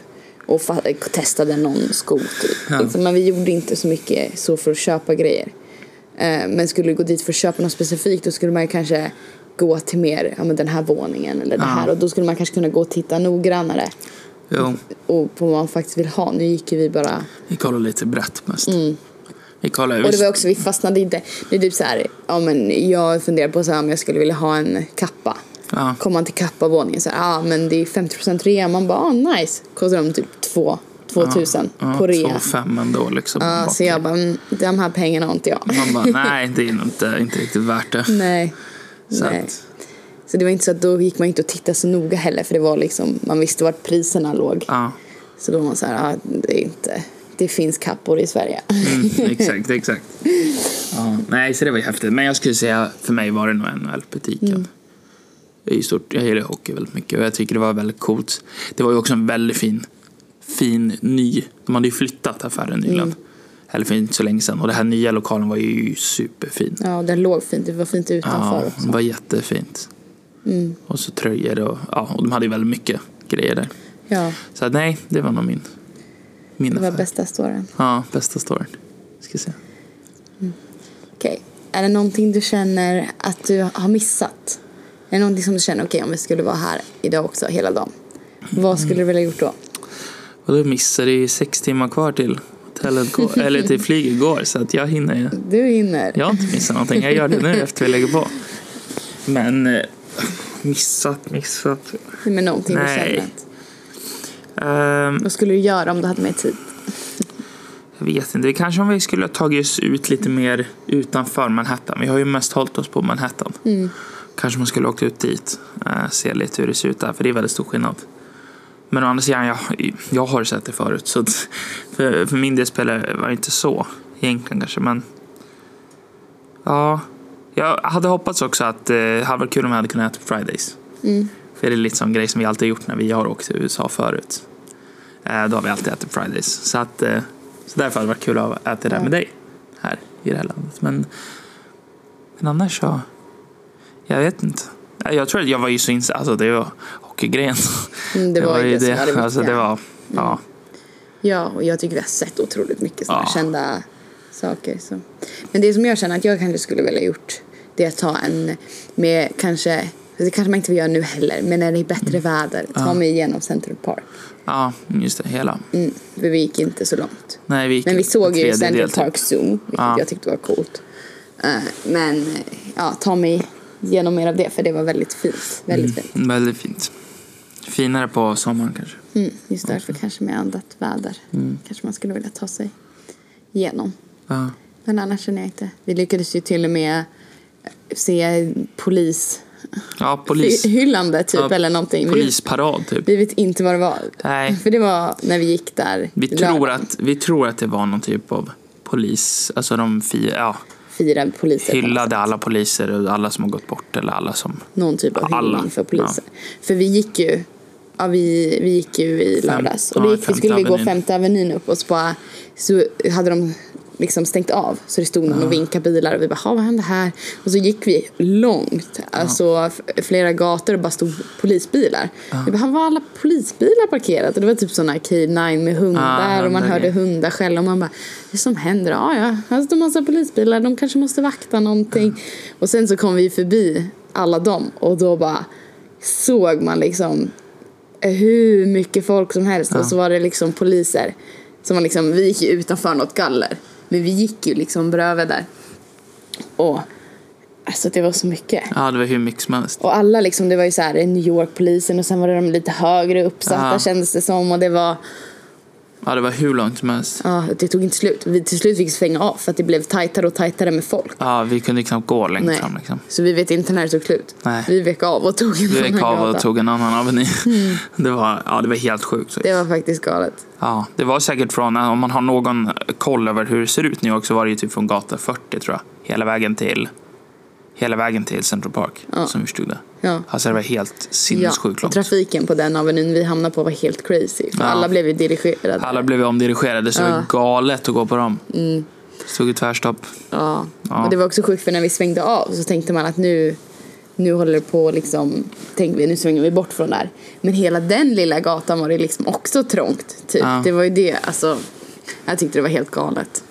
Speaker 1: Och fa- testade någon sko typ.
Speaker 2: Ja.
Speaker 1: Liksom, men vi gjorde inte så mycket så för att köpa grejer. Eh, men skulle du gå dit för att köpa något specifikt då skulle man ju kanske gå till mer, ja men den här våningen eller det
Speaker 2: Ja.
Speaker 1: här. Och då skulle man kanske kunna gå och titta noggrannare.
Speaker 2: Jo,
Speaker 1: och på vad man faktiskt vill ha. Nu gick ju vi bara...
Speaker 2: vi kollar lite brett mest. Vi kollar,
Speaker 1: Mm. Och det var också, vi fastnade inte. Det är typ så här, ja men jag funderar på så här, om jag skulle vilja ha en kappa.
Speaker 2: Ja.
Speaker 1: Kom man till kappavåningen så här, ja men det är 50% rea. Man bara, ah, nice. Kostar de typ två, 2000
Speaker 2: ja,
Speaker 1: på
Speaker 2: Två
Speaker 1: rea.
Speaker 2: och fem ändå liksom.
Speaker 1: Ja, så jag bara, mm, de här pengarna har inte jag.
Speaker 2: Man bara, nej det är nog inte, inte riktigt värt det.
Speaker 1: Nej.
Speaker 2: Så
Speaker 1: Nej.
Speaker 2: att,
Speaker 1: Så det var inte så att då gick man inte och tittade så noga heller för det var liksom, man visste vart priserna låg.
Speaker 2: ja.
Speaker 1: Så då var man så här, ah, det är inte, det finns kappor i Sverige.
Speaker 2: Mm, exakt, exakt. Ja, nej, så det var ju häftigt. Men jag skulle säga, för mig var det nog NHL-butiken.
Speaker 1: Mm.
Speaker 2: Jag, är ju stort, jag gillar hockey väldigt mycket och jag tycker det var väldigt coolt. Det var ju också en väldigt fin, fin ny, de hade ju flyttat affären
Speaker 1: Mm.
Speaker 2: nyligen. Eller för inte så länge sedan. Och den här nya lokalen var ju superfin.
Speaker 1: Ja, den låg fint, det var fint utanför
Speaker 2: Ja,
Speaker 1: också. Mm.
Speaker 2: det var jättefint. Och så tröjor och, ja, och de hade ju väldigt mycket grejer där.
Speaker 1: Ja,
Speaker 2: Så att, nej, det var nog min, min
Speaker 1: det var
Speaker 2: affär.
Speaker 1: bästa storyn.
Speaker 2: Ja, bästa storyn. Ska jag säga.
Speaker 1: Okej, är det någonting du känner att du har missat? Är det någonting som du känner, okej om vi skulle vara här idag också hela dagen. Vad skulle du vilja gjort då?
Speaker 2: Och då missade jag ju sex timmar kvar till hotellet går, eller till flyget går så att jag hinner ju.
Speaker 1: Du hinner.
Speaker 2: Jag har inte missat någonting. Jag gör det nu efter vi lägger på. Men eh, missat, missat.
Speaker 1: Men någonting du
Speaker 2: Nej.
Speaker 1: känner att,
Speaker 2: Ehm,
Speaker 1: Vad skulle du göra om du hade mer tid?
Speaker 2: jag vet inte. Kanske om vi skulle ha tagit oss ut lite mer utanför Manhattan. Vi har ju mest hållit oss på Manhattan. Kanske man skulle ha åkt ut dit. eh, se lite hur det ser ut där. För det är väldigt stor skillnad. Men å andra sidan, jag, jag har sett det förut. Så att, för, för min del spelar var det inte så egentligen kanske. Men ja, jag hade hoppats också att eh, det hade varit kul om jag hade kunnat äta på Fridays.
Speaker 1: Mm.
Speaker 2: För det är lite sån grej som vi alltid har gjort när vi har åkt till USA förut. Eh, då har vi alltid ätit på Fridays. Så, att, eh, så därför hade det varit kul att äta det där med dig här i det här landet. Men, men annars så, jag vet inte. Ja, Jag tror att jag var ju så insatt, alltså det var hockeygrejen.
Speaker 1: Mm, det var ju det som var det viktiga.
Speaker 2: alltså, det var, ja.
Speaker 1: Mm. Ja, och jag tycker vi har sett otroligt mycket sådana
Speaker 2: Ja.
Speaker 1: kända saker. Så. Men det som jag känner att jag kanske skulle vilja gjort det är att ta en med kanske Det kanske man inte vill göra nu heller, men när det är bättre väder, ta mig igenom Central Park.
Speaker 2: Ja, just det. Hela.
Speaker 1: Mm, för vi gick inte så långt.
Speaker 2: Nej, vi gick
Speaker 1: Men vi
Speaker 2: en
Speaker 1: såg ju
Speaker 2: tredjedel
Speaker 1: Central
Speaker 2: typ.
Speaker 1: Park Zoo, vilket
Speaker 2: Ja.
Speaker 1: jag tyckte var coolt. Eh, men eh, ja, ta mig igenom mer av det, för det var väldigt fint. Väldigt fint.
Speaker 2: Mm, Väldigt fint. Finare på sommaren kanske.
Speaker 1: Mm, just därför kanske med annat väder kanske man skulle vilja ta sig igenom.
Speaker 2: Ja.
Speaker 1: Men annars känner jag inte. Vi lyckades ju till och med se polishyllan
Speaker 2: Ja, polis.
Speaker 1: typ
Speaker 2: Ja,
Speaker 1: eller någonting. Vi-
Speaker 2: Polisparad typ.
Speaker 1: Vi vet inte vad det var.
Speaker 2: Nej.
Speaker 1: För det var när vi gick där.
Speaker 2: Vi
Speaker 1: lördagen.
Speaker 2: tror, att, vi tror att det var någon typ av polis, alltså de fi, ja,
Speaker 1: Fyra poliser.
Speaker 2: hyllade alla poliser och alla som har gått bort eller alla som...
Speaker 1: Någon typ av
Speaker 2: Alla.
Speaker 1: hyllning för poliser. För vi gick ju, ja, vi, vi gick ju i lördags. Och
Speaker 2: ja,
Speaker 1: då gick, vi
Speaker 2: Femte
Speaker 1: skulle vi gå
Speaker 2: Avenyn.
Speaker 1: femte avenyn upp och så bara, så hade de liksom stängt av. Så det stod någon och vinkade bilar och vi bara, "Ha, vad hände här? Och så gick vi långt, alltså f- flera gator och bara stod polisbilar. Vi bara, "Han, var alla polisbilar parkerat? Och det var typ sådana Cave 9 med hundar
Speaker 2: Ja,
Speaker 1: och man
Speaker 2: hundar,
Speaker 1: hörde
Speaker 2: ja.
Speaker 1: hundar skälla och man bara, vad som händer? Ja, ja, här står massa polisbilar, de kanske måste vakta någonting. Och sen så kom vi förbi alla dem och då bara såg man liksom hur mycket folk som helst och så var det liksom poliser som var liksom, vi gick ju utanför något galler, men vi gick ju liksom bredvid där. Och alltså det var så mycket.
Speaker 2: Ja, det var hur mycket som helst.
Speaker 1: Och alla liksom, det var ju så här New York-polisen och sen var det de lite högre uppsatta
Speaker 2: Ja.
Speaker 1: kändes det som och det var
Speaker 2: Ja, det var hur långt som helst.
Speaker 1: Ja, det tog inte slut. Vi till slut fick svänga av för att det blev tajtare och tajtare med folk.
Speaker 2: Ja, vi kunde knappt gå längre
Speaker 1: Nej.
Speaker 2: fram liksom.
Speaker 1: Så vi vet inte när det tog slut.
Speaker 2: Nej.
Speaker 1: Vi vek av och tog en
Speaker 2: Vi gick
Speaker 1: annan
Speaker 2: av och
Speaker 1: gata.
Speaker 2: tog en annan aveny. Det, var, ja, det var helt sjukt.
Speaker 1: Mm. Det var faktiskt galet.
Speaker 2: Ja, det var säkert från, om man har någon koll över hur det ser ut i New York så var det ju typ från gata 40 tror jag. Hela vägen till, hela vägen till Central Park som vi stod där.
Speaker 1: Ja.
Speaker 2: Alltså det var helt
Speaker 1: Ja,
Speaker 2: sinnessjukt
Speaker 1: och
Speaker 2: långt.
Speaker 1: trafiken på den avenyn vi hamnade på var helt crazy. För
Speaker 2: Ja.
Speaker 1: alla blev ju dirigerade.
Speaker 2: Alla blev omdirigerade så det var
Speaker 1: Ja. Mm.
Speaker 2: galet att gå på dem. Stod i tvärstopp.
Speaker 1: Ja.
Speaker 2: Ja.
Speaker 1: Och det var också sjukt för när vi svängde av så tänkte man att nu, nu håller det på liksom, tänkte vi, nu svänger vi bort från där. Men hela den lilla gatan var det liksom också trångt. Typ.
Speaker 2: Ja.
Speaker 1: Det var ju det, alltså. Jag tyckte det var helt galet.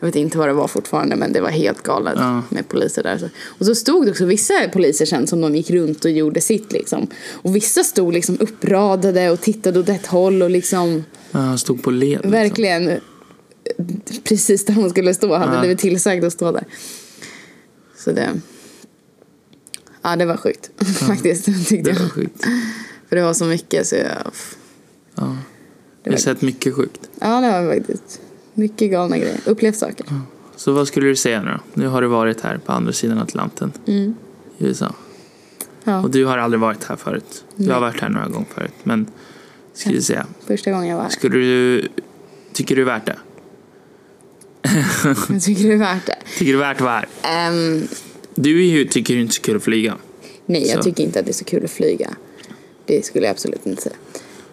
Speaker 1: Jag vet inte vad det var fortfarande men det var helt galet
Speaker 2: Ja.
Speaker 1: med poliser där. så. Och så stod det också vissa poliser sen som de gick runt och gjorde sitt liksom. Och vissa stod liksom uppradade och tittade åt ett håll och liksom
Speaker 2: Ja, stod på led. liksom.
Speaker 1: verkligen eh, precis där hon skulle stå. Hade
Speaker 2: Ja.
Speaker 1: blivit tillsagd att stå där. Så det... Ja, det var sjukt faktiskt. Tyckte
Speaker 2: Det var
Speaker 1: jag.
Speaker 2: sjukt.
Speaker 1: För det var så mycket så jag...
Speaker 2: Ja.
Speaker 1: Det
Speaker 2: Jag
Speaker 1: var,
Speaker 2: har sett mycket sjukt.
Speaker 1: ja, det var faktiskt mycket galna grejer. Upplevt saker.
Speaker 2: Så vad skulle du säga nu då? Nu har du varit här på andra sidan Atlanten i USA.
Speaker 1: Mm. Ja,
Speaker 2: Och du har aldrig varit här förut. Du har varit här några gånger förut. Men skulle du säga,
Speaker 1: första gången jag var här.
Speaker 2: skulle du, tycker du är värt det?
Speaker 1: Jag tycker det är värt det.
Speaker 2: Tycker du är värt att vara här?
Speaker 1: Ehm,
Speaker 2: Du är ju, tycker ju inte så kul att flyga.
Speaker 1: nej, jag
Speaker 2: Så.
Speaker 1: tycker inte att det är så kul att flyga. Det skulle jag absolut inte säga.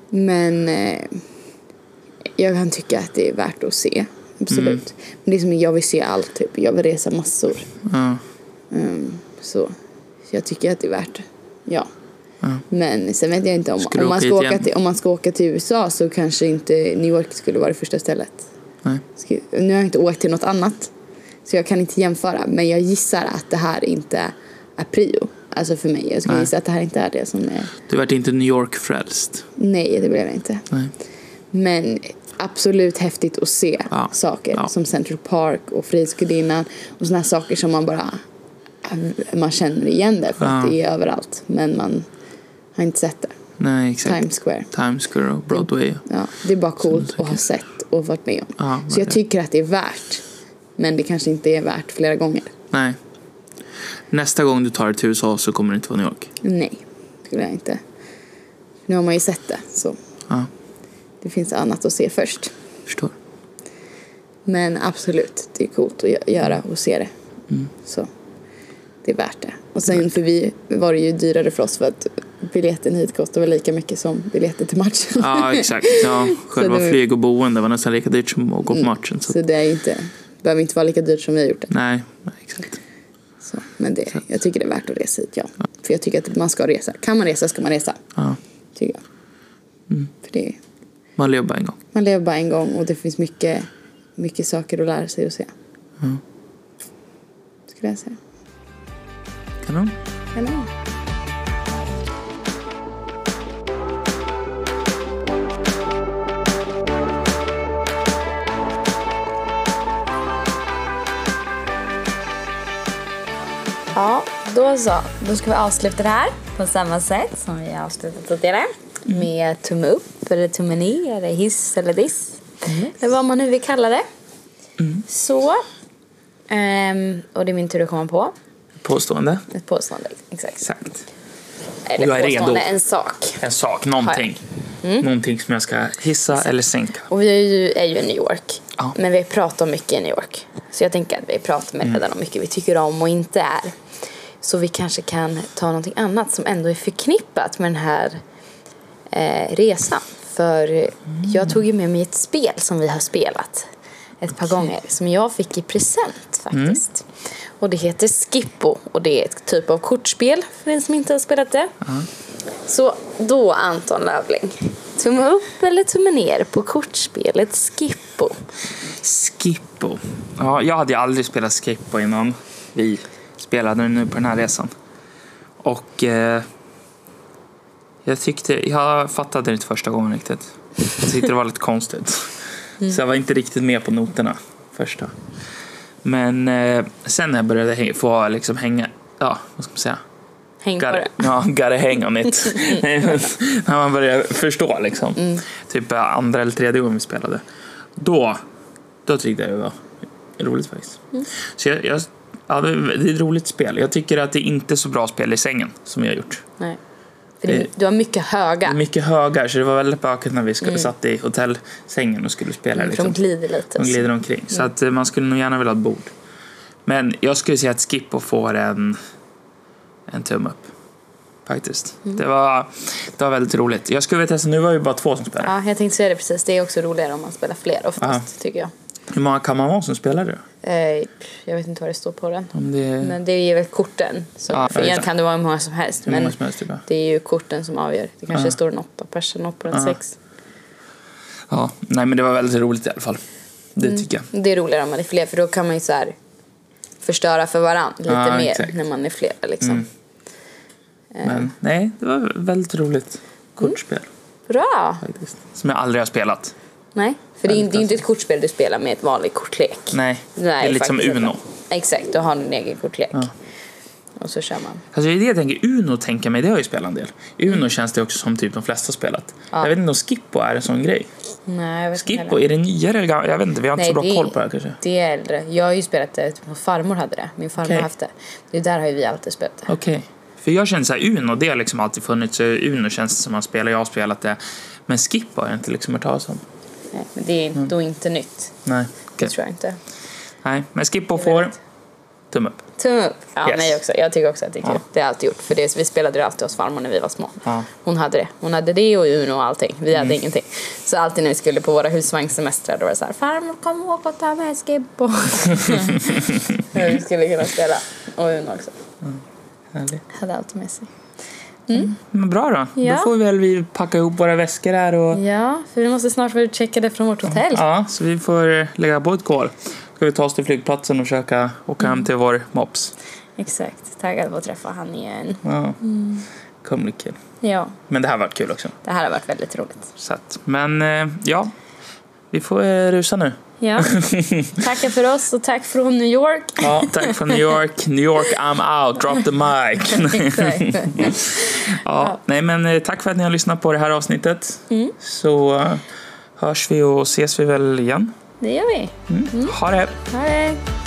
Speaker 1: Men eh, jag kan tycka att det är värt att se. Absolut.
Speaker 2: Mm.
Speaker 1: Men det är som jag vill se allt, typ. Jag vill resa massor.
Speaker 2: Ja.
Speaker 1: Ehm, så. så jag tycker att det är värt det. Ja. Men sen vet jag inte om,
Speaker 2: Ska du
Speaker 1: om, man
Speaker 2: åka
Speaker 1: ska
Speaker 2: hit
Speaker 1: åka
Speaker 2: igen?
Speaker 1: till, om man ska åka till USA så kanske inte New York skulle vara det första stället.
Speaker 2: Nej.
Speaker 1: Ska- Nu har jag inte åkt till något annat så jag kan inte jämföra men jag gissar att det här inte är prio. Alltså för mig. Jag skulle
Speaker 2: Nej.
Speaker 1: gissa att det här inte är det som är...
Speaker 2: Du vart inte New York-frälst.
Speaker 1: Nej, det blev jag inte.
Speaker 2: Nej.
Speaker 1: Men absolut häftigt att se
Speaker 2: Ja.
Speaker 1: saker
Speaker 2: Ja.
Speaker 1: som Central Park och Frihetsgudinnan och såna här saker som man bara man känner igen det för att
Speaker 2: Ja.
Speaker 1: det är överallt men man har inte sett det.
Speaker 2: Nej, exakt.
Speaker 1: Times Square.
Speaker 2: Times Square och Broadway.
Speaker 1: Ja, det är bara coolt
Speaker 2: tycker.
Speaker 1: att ha sett och varit med om.
Speaker 2: Ja,
Speaker 1: Så jag
Speaker 2: verkligen.
Speaker 1: tycker att det är värt men det kanske inte är värt flera gånger.
Speaker 2: Nej. Nästa gång du tar dig till USA så kommer det inte vara New York.
Speaker 1: Nej, skulle jag inte. Nu har man ju sett det så
Speaker 2: Ja,
Speaker 1: det finns annat att se först.
Speaker 2: förstår.
Speaker 1: Men absolut, det är coolt att gö- göra och se det. Så det är värt det. Och sen för vi var det ju dyrare för oss för att biljetten hit kostade väl lika mycket som biljetten till matchen.
Speaker 2: Ja, exakt. Ja, själva
Speaker 1: det var-
Speaker 2: flyg och boende var nästan lika dyrt som att gå på matchen. Så.
Speaker 1: Så det är ju inte, behöver inte vara lika dyrt som vi har gjort det.
Speaker 2: Nej, nej, exakt.
Speaker 1: Så, men det, jag tycker det är värt att resa hit, ja. För jag tycker att man ska resa. Kan man resa ska man resa,
Speaker 2: Ja.
Speaker 1: tycker jag. För det,
Speaker 2: Man lever bara en gång.
Speaker 1: man lever bara en gång och det finns mycket, mycket saker att lära sig och se. Skulle jag säga.
Speaker 2: Kanon.
Speaker 1: Kanon. Då så, då ska vi avsluta det här på samma sätt som vi har avslutat tidigare. Med tumme upp, eller tumme ner, eller hiss eller diss. Eller vad man nu vill kalla det. Så. ehm, och det är min tur att komma på
Speaker 2: Påstående?
Speaker 1: ett påstående. Exakt.
Speaker 2: Exakt.
Speaker 1: Eller
Speaker 2: jag är
Speaker 1: påstående,
Speaker 2: redo.
Speaker 1: en sak.
Speaker 2: En sak, någonting. Någonting som jag Mm. ska hissa eller sänka.
Speaker 1: Och vi är ju, är ju i New York.
Speaker 2: Ja.
Speaker 1: Men vi pratar om mycket i New York. Så jag tänker att vi pratar
Speaker 2: Mm.
Speaker 1: med redan om mycket vi tycker om och inte är. Så vi kanske kan ta någonting annat som ändå är förknippat med den här eh, resan. För
Speaker 2: Mm.
Speaker 1: jag tog ju med mig ett spel som vi har spelat ett par gånger. Som jag fick i present
Speaker 2: Mm.
Speaker 1: faktiskt. Och det heter Skippo. Och det är ett typ av kortspel för den som inte har spelat det. Så då Anton Lövling, tumme upp eller tumme ner på kortspelet Skippo.
Speaker 2: Skippo. Ja, jag hade ju aldrig spelat Skippo innan vi spelade nu på den här resan. Och eh, jag tyckte, jag fattade det inte första gången riktigt. Jag tyckte det var lite konstigt. Så jag var inte riktigt med på noterna första. Men eh, sen när jag började häng, få liksom hänga, ja vad ska man säga?
Speaker 1: Häng på
Speaker 2: Gotta,
Speaker 1: det.
Speaker 2: ja, gotta hang on it. Nej, men När man börjar förstå liksom.
Speaker 1: Mm.
Speaker 2: Typ eh, andra eller tredje gången vi spelade. Då, då tyckte jag det var roligt faktiskt.
Speaker 1: Mm.
Speaker 2: Så jag, jag, ja, det det är ett roligt spel. Jag tycker att det är inte är så bra spel i sängen som jag har gjort.
Speaker 1: Nej. För
Speaker 2: Eh.
Speaker 1: det, du har mycket höga.
Speaker 2: Det är mycket högar så det var väldigt bökigt när vi sk- satt i hotellsängen och skulle spela.
Speaker 1: för Mm. de
Speaker 2: Liksom.
Speaker 1: glider lite. Mm.
Speaker 2: De glider omkring. Så att eh, man skulle nog gärna vilja ha ett bord. Men jag skulle säga att Skippo får en, en tumme upp. Faktiskt.
Speaker 1: Mm.
Speaker 2: Det, var, det var väldigt roligt. Jag skulle vilja testa, nu var det ju bara två som spelade.
Speaker 1: Ja, jag tänkte säga det precis. Det är också roligare om man spelar fler oftast, tycker jag.
Speaker 2: Hur många kan man vara som spelar då?
Speaker 1: Eh, Jag vet inte vad det står på den.
Speaker 2: Om det är
Speaker 1: Men det är väl korten. Så
Speaker 2: Mm. Ja,
Speaker 1: för
Speaker 2: exakt.
Speaker 1: en kan det vara hur många som helst.
Speaker 2: hur många
Speaker 1: Men
Speaker 2: som helst. Typ. ja.
Speaker 1: det är ju korten som avgör. Det kanske
Speaker 2: Ja.
Speaker 1: står en åtta pers, en åtta på
Speaker 2: Ja.
Speaker 1: den sex.
Speaker 2: Ja, nej men det var väldigt roligt i alla fall. Det
Speaker 1: Mm.
Speaker 2: tycker jag.
Speaker 1: Det är roligare om man är fler för då kan man ju så här förstöra för varandra lite
Speaker 2: Ja,
Speaker 1: mer
Speaker 2: exakt. Mm.
Speaker 1: när man är fler. Liksom. Eh.
Speaker 2: Men nej, det var väldigt roligt
Speaker 1: Mm.
Speaker 2: kortspel
Speaker 1: Bra!
Speaker 2: faktiskt. Som jag aldrig har spelat.
Speaker 1: Nej, för det är, ju- det är ju inte
Speaker 2: Fantastiskt.
Speaker 1: ett kortspel du spelar med ett vanligt kortlek.
Speaker 2: Nej, det är lite som
Speaker 1: faktiskt
Speaker 2: Uno.
Speaker 1: inte. Exakt, du har en egen kortlek.
Speaker 2: Ja.
Speaker 1: Och så kör man.
Speaker 2: Alltså det är det jag tänker, Uno tänker mig, det har jag ju spelat en del. I Uno känns det också som typ de flesta spelat. Jag vet inte om Skippo är en sån grej.
Speaker 1: Nej, jag vet inte
Speaker 2: Skippo,
Speaker 1: heller.
Speaker 2: är det nyare eller gammal? Jag vet inte, vi har inte
Speaker 1: Nej,
Speaker 2: så bra
Speaker 1: det är-
Speaker 2: koll på det här kanske.
Speaker 1: Det är äldre. Jag har ju spelat det, typ, min farmor hade det. Min farmor
Speaker 2: Okej.
Speaker 1: har haft det. Det där har ju vi alltid spelat det.
Speaker 2: Okej. För jag känner så här, Uno, det har liksom alltid funnits. så Uno känns det som man spelar, jag har spelat det. Men Skippo har jag inte liksom hört talas om.
Speaker 1: Nej, Men det är då inte nytt.
Speaker 2: Nej.
Speaker 1: Det
Speaker 2: Mm. okej.
Speaker 1: tror jag inte.
Speaker 2: Nej, men Skippo får
Speaker 1: vet.
Speaker 2: tumme upp.
Speaker 1: Tumme upp! Ja,
Speaker 2: Yes.
Speaker 1: nej också. Jag tycker också att det är kul.
Speaker 2: Ja.
Speaker 1: Det har jag alltid gjort. För det, vi spelade det alltid hos farmor när vi var små.
Speaker 2: Ja.
Speaker 1: Hon hade det. Hon hade det och Uno och allting. Vi hade ingenting. Så alltid när vi skulle på våra husvagnssemestrar då var det så här Farmor kom ihåg att ta med Skippo. vi skulle kunna spela. Och Uno också.
Speaker 2: Härligt.
Speaker 1: Hade alltid med sig.
Speaker 2: Men bra då.
Speaker 1: Ja.
Speaker 2: Då får väl vi packa ihop våra väskor här och...
Speaker 1: Ja, för vi måste snart vara utcheckade från vårt hotell.
Speaker 2: Ja, så vi får eh, lägga på ett kol. Ska vi ta oss till flygplatsen och försöka åka hem till vår mops.
Speaker 1: Exakt. Taggad på att träffa han igen.
Speaker 2: Ja. Kommer bli kul.
Speaker 1: Ja,
Speaker 2: Men det här var kul också.
Speaker 1: det här har varit väldigt roligt.
Speaker 2: Så att, men eh, ja, vi får eh, rusa nu.
Speaker 1: Ja. Tackar för oss och tack från New York.
Speaker 2: Ja, tack för New York. New York, I'm out. Drop the mic.
Speaker 1: Exakt.
Speaker 2: Ja, nej, men eh, tack för att ni har lyssnat på det här avsnittet. Så eh, hörs vi och ses vi väl igen.
Speaker 1: Det gör vi.
Speaker 2: Ha det!
Speaker 1: Ha det.